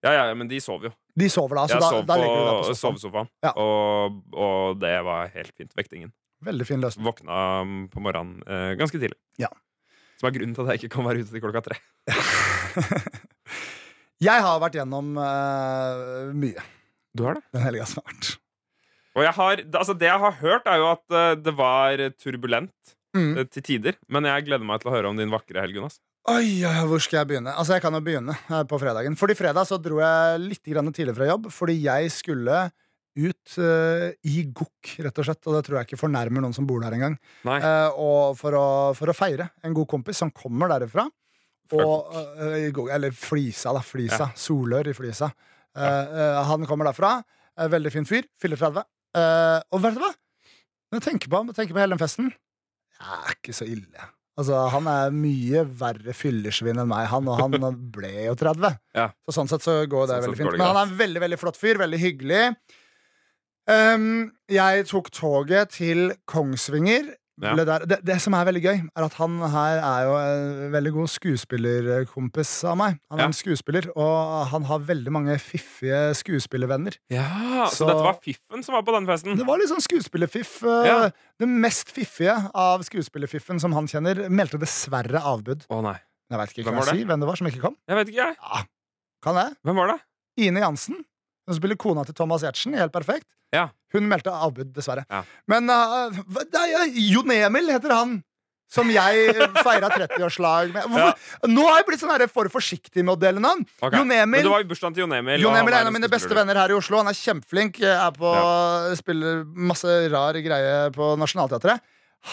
Ja, ja, men de sov jo.
De sover Altså, da, så
jeg
da,
sov
da ligger du da
på
på sofaen.
sovesofaen,
Ja.
og, og det var helt fint. Vektingen.
Veldig fin løsning.
Våkna mm, på morgenen eh, ganske tidlig.
Ja.
Som er grunnen til at jeg ikke kan være ute til klokka tre.
<laughs> Jeg har vært gjennom eh, mye
Du har det?
den helga som har vært.
Og jeg har, altså det jeg har hørt, er jo at eh, det var turbulent
Mm.
eh, til tider. Men jeg gleder meg til å høre om din vakre helg, Jonas.
Oi, oi, oi, hvor skal jeg begynne? Altså, jeg kan jo begynne eh, på fredagen. Fordi fredag så dro jeg litt grann tidlig fra jobb, fordi jeg skulle ut eh, i gokk, rett og slett. Og det tror jeg ikke fornærmer noen som bor der engang.
Nei.
Eh, og for å, for å feire en god kompis som kommer derifra.
Fra
Og, eh, i gokk, eller Flisa, da. Flisa. Solør i Flisa. Eh, eh, han kommer derfra. Eh, veldig fin fyr. Fyller 30. Eh, og vet du hva? Når jeg tenker på ham, tenker på hele den festen Det er ikke så ille. Altså, Han er mye verre fyllesvin enn meg, han, og han ble jo 30.
Ja.
Så sånn sett så går det
Sånn sett
veldig
går
fint.
det
Men han
greit.
er en veldig veldig flott fyr. Veldig hyggelig. Ehm, jeg tok toget til Kongsvinger.
Ja.
Ble der. Det, det som er veldig gøy, er at han her er jo en veldig god skuespillerkompis av meg. Han er
Ja.
en skuespiller, og han har veldig mange fiffige skuespillervenner.
Ja, så,
Så-
dette var fiffen som var på den festen?
Det var litt sånn skuespillerfiff. eh,
Ja.
Den mest fiffige av skuespillerfiffen som han kjenner, meldte dessverre avbud.
Å nei.
Jeg vet ikke
Hvem
hvem,
var
jeg si, hvem det var som ikke kom.
Jeg vet ikke, jeg.
Kan jeg?
Hvem var det?
Ine Jansen, hun spiller kona til Thomas Giertsen, i helt perfekt.
Ja.
Hun meldte avbud, dessverre.
Ja.
Men uh, hva- det er, Jon Emil heter han. Som jeg feira 30-årslag med. Hvorfor? Nå har jeg blitt sånn her for forsiktig med å dele navn.
Ok.
Jon Emil
Men det var jo bursdagen til Jon Emil. og han
Jon
liksom
Emil
var
er en av mine beste
skuespiller.
venner her i Oslo. Han er kjempeflink. eh, Er på, Spiller masse rar greie på Nationaltheatret.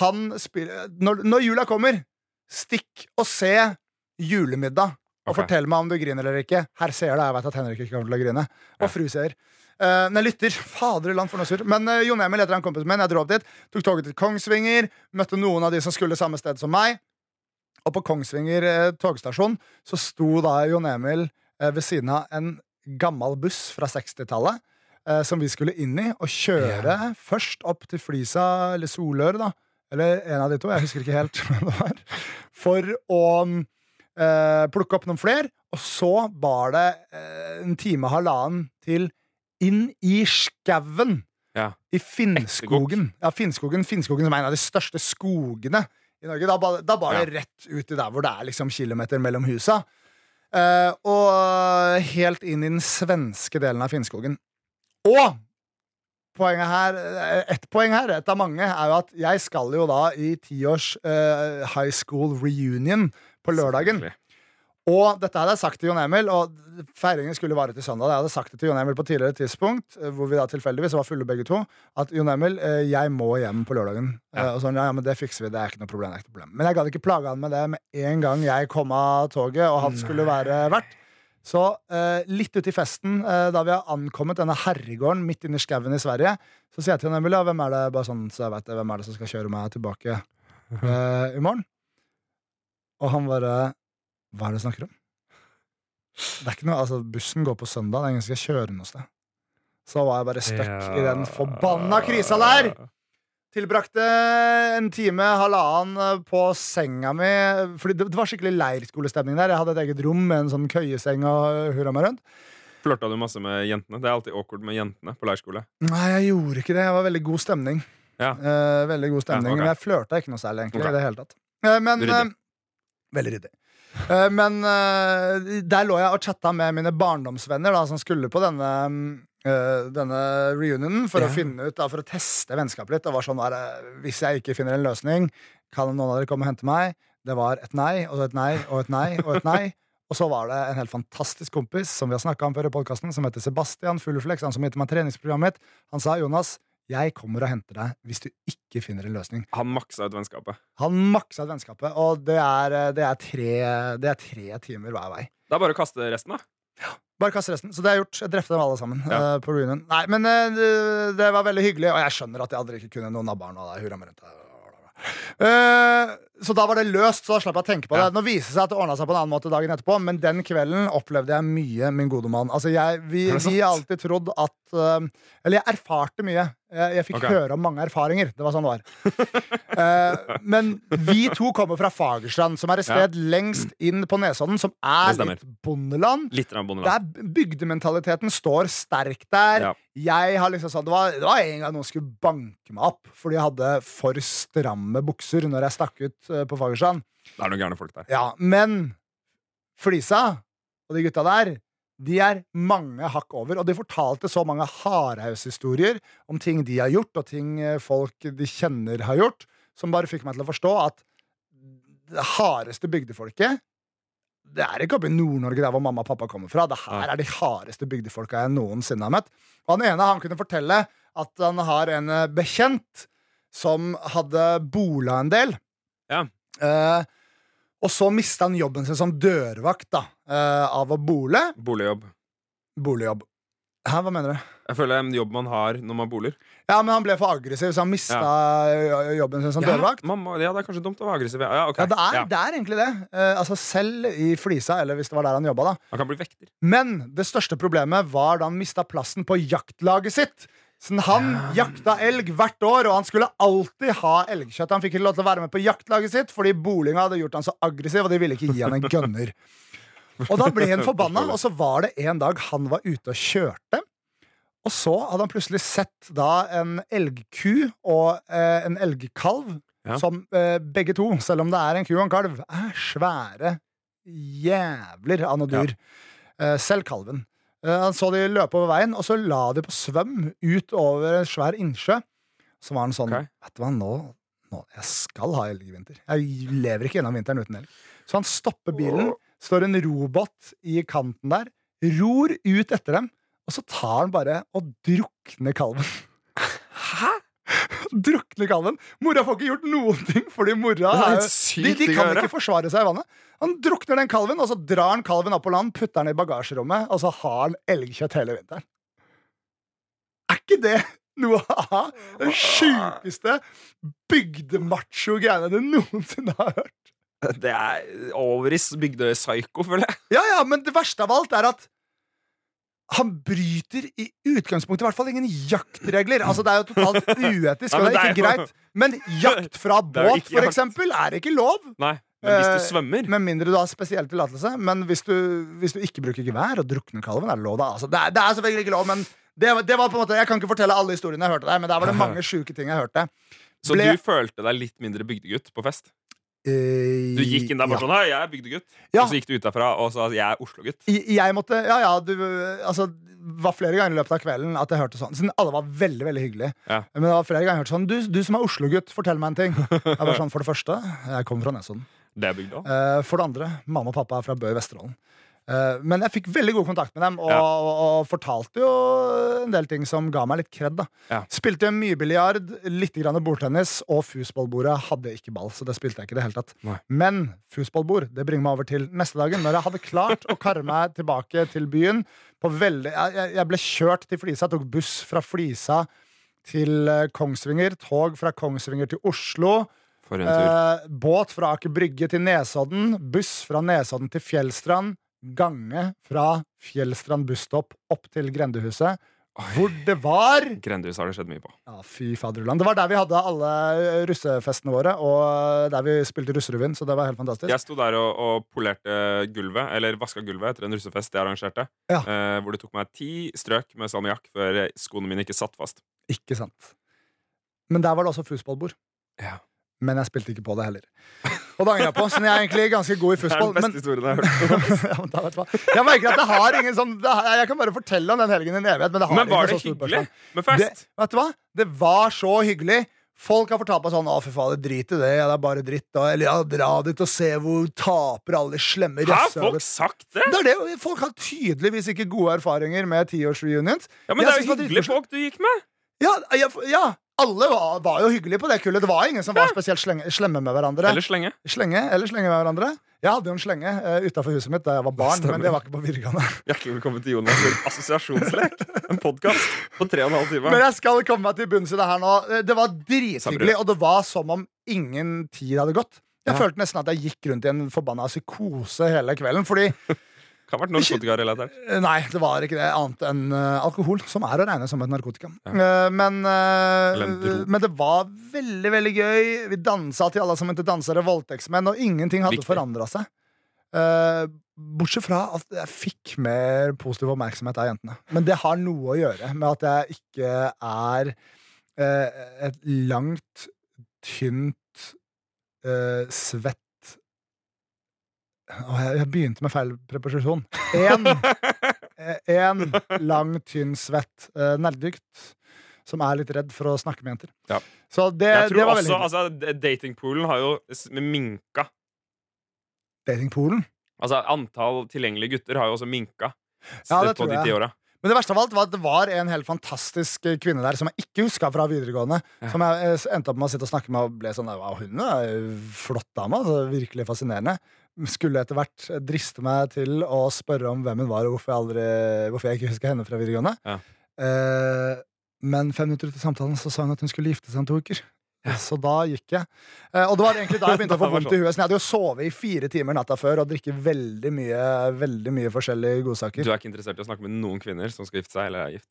Han spiller når, når jula kommer, stikk og se Julemiddag. Og
Ok.
fortell meg om du griner eller ikke. Her ser jeg det. Jeg vet at Henrik ikke kommer til å grine. Og fru ser. Eh, nei, lytter. Faderland, for noe surr. Men eh, Jon Emil heter han kompisen min. Jeg dro opp dit. Tok toget til Kongsvinger. Møtte noen av de som skulle samme sted som meg. Og på Kongsvinger eh, togstasjon så sto da Jon Emil eh, ved siden av en gammel buss fra 60-tallet eh, som vi skulle inn i, og kjøre først opp til Flisa eller Solør, da. Eller en av de to, jeg husker ikke helt <laughs> hvem det var. For å mm, eh, plukke opp noen flere. Og så var det eh, en time og halvannen til inn i skauen.
Ja.
I Finnskogen. Ja, Finnskogen, Finnskogen som er en av de største skogene i Norge. Da, ba- da bar det rett ut til der hvor det er liksom kilometer mellom husa. Eh, og helt inn i den svenske delen av Finnskogen. Og poenget her, eh, ett poeng her, ett av mange, er jo at jeg skal jo da i tiårs eh, high school reunion på lørdagen.
Selvfølgelig.
Og dette hadde jeg sagt til Jon Emil, og feiringen skulle vare til søndag. Jeg hadde sagt det til Jon Emil på tidligere tidspunkt, eh, hvor vi da tilfeldigvis var fulle begge to, at Jon Emil, eh, jeg må hjem på lørdagen. Eh, Og sånn, ja, ja, men det fikser vi, det er ikke noe problem. Det er ikke noe problem. Men jeg gadd ikke plage han med det med en gang jeg kom av toget, og han skulle være vert. Så eh, litt ute i festen, eh, da vi har ankommet denne herregården midt inne i skauen i Sverige, så sier jeg til Jon Emil, ja, hvem er det, bare sånn, så jeg vet det, hvem er det som skal kjøre meg tilbake eh, i morgen? Og han bare, hva er det du snakker om? Det er ikke noe, altså Bussen går på søndag, det er ingen som skal kjøre noe sted. Så var jeg bare stuck i den forbanna krisa der! Tilbrakte en time, halvannen eh, på senga mi. Fordi det, det var skikkelig leirskolestemning der. Jeg hadde et eget rom med en sånn køyeseng og hurra meg rundt.
Flørta du masse med jentene? Det er alltid awkward med jentene på leirskole.
Nei, jeg gjorde ikke det. Jeg var veldig god stemning.
Ja.
Eh, veldig god stemning
Ja, ok.
Men jeg flørta ikke noe særlig, egentlig.
Ok.
I det hele tatt. Eh, men
Ryddig.
eh, Veldig ryddig. Eh, men eh, der lå jeg og chatta med mine barndomsvenner da, som skulle på denne eh, denne reunionen for å finne ut da, For å teste vennskapet litt. Og var sånn der, eh, Hvis jeg ikke finner en løsning, kan noen av dere komme og hente meg? Det var et nei og et nei og et nei og et nei. Og så var det en helt fantastisk kompis som vi har snakka om før i podcasten, som heter Sebastian Fugleflex, han som gitt meg treningsprogrammet mitt. Han sa Jonas, jeg kommer og henter deg hvis du ikke finner en løsning.
Han maksa ut vennskapet.
Han maksa ut vennskapet, og det er, eh, det, er tre, det er tre timer hver vei.
Det er bare å kaste resten, da.
Bare kast resten. Så det har jeg gjort. Jeg drepte dem alle sammen.
Ja.
eh, på reunion. Nei, men eh, det, det var veldig hyggelig, og jeg skjønner at jeg aldri ikke kunne noen av barna. der, hurra meg rundt der. Eh, så da var det løst, så da slapp jeg å tenke på
Ja.
det. Nå viser det seg at det ordna seg på en annen måte dagen etterpå, men den kvelden opplevde jeg mye, min gode mann. Altså, jeg, vi,
Er det sant?
vi har alltid trodd at eh, Eller jeg erfarte mye. Jeg, jeg fikk
Ok.
høre om mange erfaringer. Det var sånn det var. Eh, men vi to kommer fra Fagerstrand, som er et sted lengst inn på Nesodden, som er
Det stemmer.
litt bondeland.
Litt rann bondeland.
Der b- bygdementaliteten står sterkt der.
Ja.
Jeg har liksom sånn, det, var, det var en gang noen skulle banke meg opp fordi jeg hadde for stramme bukser når jeg stakk ut eh, på Fagerstrand.
Det er noen gærne folk der.
Ja, men Flisa og de gutta der, de er mange hakk over, og de fortalte så mange hardhaushistorier om ting de har gjort, og ting eh, folk de kjenner har gjort, som bare fikk meg til å forstå at det hardeste bygdefolket det er ikke oppe i Nord-Norge, der hvor mamma og pappa kommer fra. Det her er de hardeste bygdefolka jeg noensinne har møtt. Og han ene han kunne fortelle at han har en eh, bekjent som hadde bola en del.
Ja.
Eh, og så mista han jobben sin som dørvakt da, eh, av å bole.
Boligjobb.
Boligjobb. Hæ, hva mener du?
Jeg føler det er en jobb man har når man boliger.
Ja, men han ble for aggressiv, så han mista eh, jobben sin som
Ja,
dørvakt.
mamma, ja, det er kanskje dumt å være aggressiv. Ja, ok.
Ja, det er,
Ja.
det er egentlig det. Eh, altså Selv i Flisa, eller hvis det var der han jobba, da.
Han kan bli
<laughs>
vekter.
Men det største problemet var da han mista plassen på jaktlaget sitt. Så han jakta elg hvert år, og han skulle alltid ha elgkjøtt. Han fikk ikke lov til å være med på jaktlaget sitt fordi bolinga hadde gjort han så aggressiv, og de ville ikke gi han en gunner. Og da ble han forbanna, og så var det en dag han var ute og kjørte. Og så hadde han plutselig sett da en elgku og eh, en elgkalv,
Ja.
som eh, begge to, selv om det er en ku og en kalv, er svære jævler av noe
Ja.
dyr. Eh, selv kalven. Eh, han så de løpe over veien, og så la de på svøm ut over en svær innsjø. Så var han sånn
Ok.
Vet du hva, nå, nå Jeg skal ha elg i vinter. Jeg lever ikke gjennom vinteren uten elg. Så han stopper bilen, står en robåt i kanten der, ror ut etter dem, og så tar han bare og drukner kalven. Hæ? Drukner kalven. Mora får ikke gjort noen ting, fordi mora
Det er
er
helt
jo-
sykt
de, de
ting å
kan
gjøre.
ikke forsvare seg i vannet. Han drukner den kalven, og så drar han kalven opp på land, putter den i bagasjerommet, og så har han elgkjøtt hele vinteren. Er ikke det noe av den sjukeste bygdemacho-greiene du noensinne har hørt?
Det er over i bygdepsyko, føler jeg.
Ja, ja, men det verste av alt er at han bryter i utgangspunktet i hvert fall ingen jaktregler. Altså, Det er
<laughs>
jo totalt uetisk,
Ja,
og
men
det er
det er
ikke
jo-
greit. Men jakt fra
<laughs> Det er jo
båt,
ikke
for
jakt.
eksempel, er ikke lov.
Nei, men hvis
Eh,
du svømmer
Med mindre du har spesiell tillatelse. Men hvis du, hvis du ikke bruker gevær og drukner kalven, er det lov, da. Altså, det, er, det er selvfølgelig ikke lov, men det, var- det var på en måte Jeg kan ikke fortelle alle historiene jeg hørte der, men der var det mange sjuke ting jeg hørte.
Så
ble-
du følte deg litt mindre bygdegutt på fest?
Eh,
Du gikk inn der bare
ja.
sånn Hei, jeg er bygdegutt.
Ja.
Og så gikk du ut derfra og sa jeg er Oslo-gutt.
I- jeg måtte, ja, ja, du, altså, det var flere ganger i løpet av kvelden at jeg hørte sånn. Siden alle var veldig veldig hyggelige.
Ja.
Men det var flere ganger jeg hørte sånn Du, du som er Oslo-gutt, fortell meg en ting. Jeg var sånn, For det første, jeg kommer fra Nesodden.
Det er bygda.
Eh, For det andre, mamma og pappa er fra Bø i Vesterålen. Eh, Men jeg fikk veldig god kontakt med dem, og,
Ja.
og, og fortalte jo en del ting som ga meg litt kred. da.
Ja.
Spilte mye biljard, litt grann bordtennis, og fusballbordet hadde ikke ball. så det spilte jeg ikke i det hele tatt.
Nei.
Men fusballbord det bringer meg over til neste dagen, når jeg hadde klart å karre meg tilbake til byen. På veldig, jeg, jeg- jeg ble kjørt til Flisa, tok buss fra Flisa til eh, Kongsvinger, tog fra Kongsvinger til Oslo.
For en tur.
Eh, båt fra Aker Brygge til Nesodden, buss fra Nesodden til Fjellstrand, gange fra Fjellstrand busstopp opp til Grendehuset, hvor det var
Grendehus har det skjedd mye på.
Ja, fy faderullan. Det var der vi hadde alle eh, russefestene våre, og der vi spilte russerevyen, så det var helt fantastisk.
Jeg sto der og, og polerte gulvet, eller vaska gulvet, etter en russefest jeg arrangerte.
Ja.
Eh, hvor det tok meg ti strøk med salmiakk før skoene mine ikke satt fast.
Ikke sant. Men der var det også fusballbord.
Ja.
Men jeg spilte ikke på det heller. Og det angrer jeg på, så jeg er egentlig ganske god i
Det er
fusball.
den beste
Men,
historien jeg har hørt.
<laughs> ja, men da vet du hva. Jeg merker at det har ingen sånn det har, Jeg kan bare fortelle om den helgen i en evighet, men det har
Men var det
ikke så stor
hyggelig
personlighet.
med fest?
Det, vet du hva? Det var så hyggelig. Folk har fortalt meg sånn 'Å, fy faen, det drit i det. ja, Det er bare dritt.' Og, eller ja, 'Dra dit og se hvor taper alle de slemme
Har folk
rasshøler'.
sagt det?
Det er det. Folk har tydeligvis ikke gode erfaringer med tiårsreunions.
Ja, men
Jeg
det er jo
synes det var
hyggelige
dritmorsomt.
folk du gikk med.
Ja, ja, ja, alle var, var jo hyggelige på det kullet. Det var ingen som var spesielt slenge, slemme med hverandre.
Eller slenge.
Slenge, eller slenge med hverandre. Jeg hadde jo en slenge uh, utafor huset mitt da jeg var barn, men det var ikke på videregående.
Hjertelig velkommen til Jonas' sin
<laughs>
assosiasjonslek. En podkast på tre og en halv time.
Men jeg skal komme meg til bunns i det her nå. Eh, Det var drithyggelig,
Sabrud.
og det var som om ingen tid hadde gått. Jeg
Ja.
følte nesten at jeg gikk rundt i en forbanna psykose hele kvelden. Fordi
Kan ha vært narkotikarelatert.
eh, Nei, det var ikke det annet enn eh, alkohol, som er å regne som et narkotika. Eh, Men, eh,
Eller en drog.
men det var veldig, veldig gøy. Vi dansa til alle som ikke dansere, voldtektsmenn, og ingenting hadde
Viktig.
forandra seg. Eh, Bortsett fra at jeg fikk mer positiv oppmerksomhet av jentene. Men det har noe å gjøre med at jeg ikke er eh, et langt, tynt, eh, svett Å, jeg, jeg begynte med feil preposisjon. Én én eh, lang, tynn, svett eh, nerddykt som er litt redd for å snakke med jenter.
Ja.
Så det,
Jeg
det
tror
var veldig
også
hyggelig.
altså, d- Datingpoolen har jo s- minka.
Datingpoolen.
Altså Antall tilgjengelige gutter har jo også minka. s-
Ja, det
på
tror
de
jeg.
ti åra.
Men det verste av alt var at det var en helt fantastisk kvinne der som jeg ikke huska fra videregående. Som jeg eh, endte opp med å sitte og snakke med og ble sånn Wow, hun er jo flott dame. Altså, virkelig fascinerende. Skulle etter hvert driste meg til å spørre om hvem hun var, og hvorfor jeg, aldri, hvorfor jeg ikke husker henne fra videregående.
Ja.
Eh, men fem minutter ut i samtalen så sa hun at hun skulle gifte seg om to uker. Så da gikk jeg. Eh, og det var egentlig da
<laughs>
jeg begynte å få
Det var
vondt i huet. Så jeg hadde jo sovet i fire timer natta før og drikke veldig mye, veldig mye forskjellige godsaker.
Du er ikke interessert i å snakke med noen kvinner som skal gifte seg eller er gift?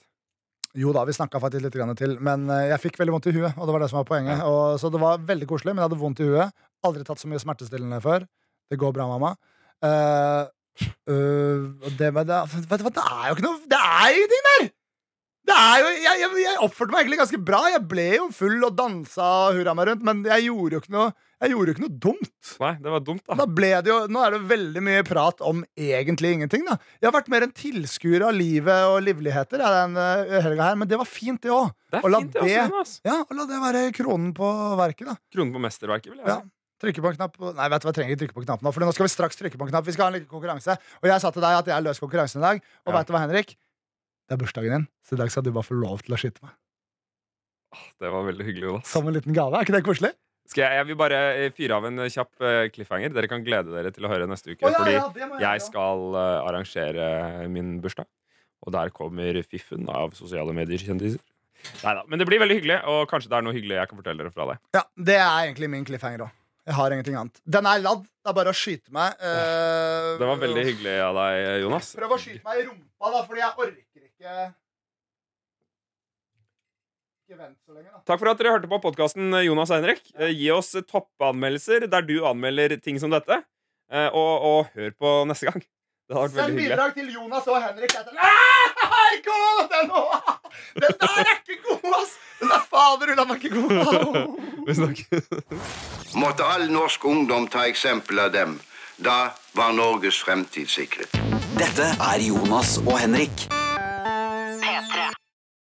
Jo da, vi snakka faktisk litt grann til, men eh, jeg fikk veldig vondt i huet. Og det var det som var poenget. Og, så det var veldig koselig, men jeg hadde vondt i huet. Aldri tatt så mye smertestillende før. Det går bra, mamma. Eh, øh, og det, men det, vet du hva, det er jo ikke noe Det er jo ingenting der! Det er jo, jeg, jeg, jeg oppførte meg egentlig ganske bra. Jeg ble jo full og dansa og hurra meg rundt, men jeg gjorde jo ikke noe, jeg gjorde jo ikke noe dumt.
Nei, det var dumt, da.
Da ble det jo, nå er det veldig mye prat om egentlig ingenting. da Jeg har vært mer en tilskuer av livet og livligheter ja, den eh, helga her, men det var fint, det òg.
Det
Og
er
la
fint, det også.
det-
Jonas.
Ja, og la det være kronen på verket, da.
Kronen på mesterverket, vil jeg
Ja.
si.
Trykke på en knapp Nei, vet du hva, jeg trenger ikke trykke på en knapp nå, for nå skal vi straks trykke på en knapp. Vi skal ha en liten konkurranse. Og jeg sa til deg at jeg løs konkurransen i dag, og
Ja.
vet du hva, Henrik? Det er bursdagen din, så i dag skal du bare få lov til å skyte meg.
Det var veldig hyggelig, Jonas.
Som en liten gave. Er ikke det koselig?
Skal jeg, jeg vil bare eh, fyre av en eh, kjapp eh, cliffhanger. Dere kan glede dere til å høre neste uke.
Å, ja,
fordi
ja, det må jeg
jeg
gjøre.
skal eh, arrangere eh, min bursdag. Og der kommer fiffen av sosiale medier-kjendiser. Neida, Men det blir veldig hyggelig, og kanskje det er noe hyggelig jeg kan fortelle dere fra deg.
Ja, det er egentlig min cliffhanger òg. Jeg har ingenting annet. Den er ladd. Det er bare å skyte meg. eh,
Det var veldig hyggelig av deg, eh, Jonas.
Prøv å skyte meg i rumpa, da, fordi jeg orker ikke Ikke vent så lenge, da.
Takk for at dere hørte på podkasten Jonas og Henrik. Eh, Gi oss eh, toppanmeldelser der du anmelder ting som dette. Eh, Og, og hør på neste gang. Det hadde vært
Send
veldig hyggelig.
bidrag til Jonas og Henrik. etter- Nei, ikke hold den nå! Den der er ikke god, ass! Den der fader, den er ikke god. Au.
Vi snakkes.
måtte all norsk ungdom ta eksempel av dem. Da var Norges fremtid sikret.
Dette er Jonas og Henrik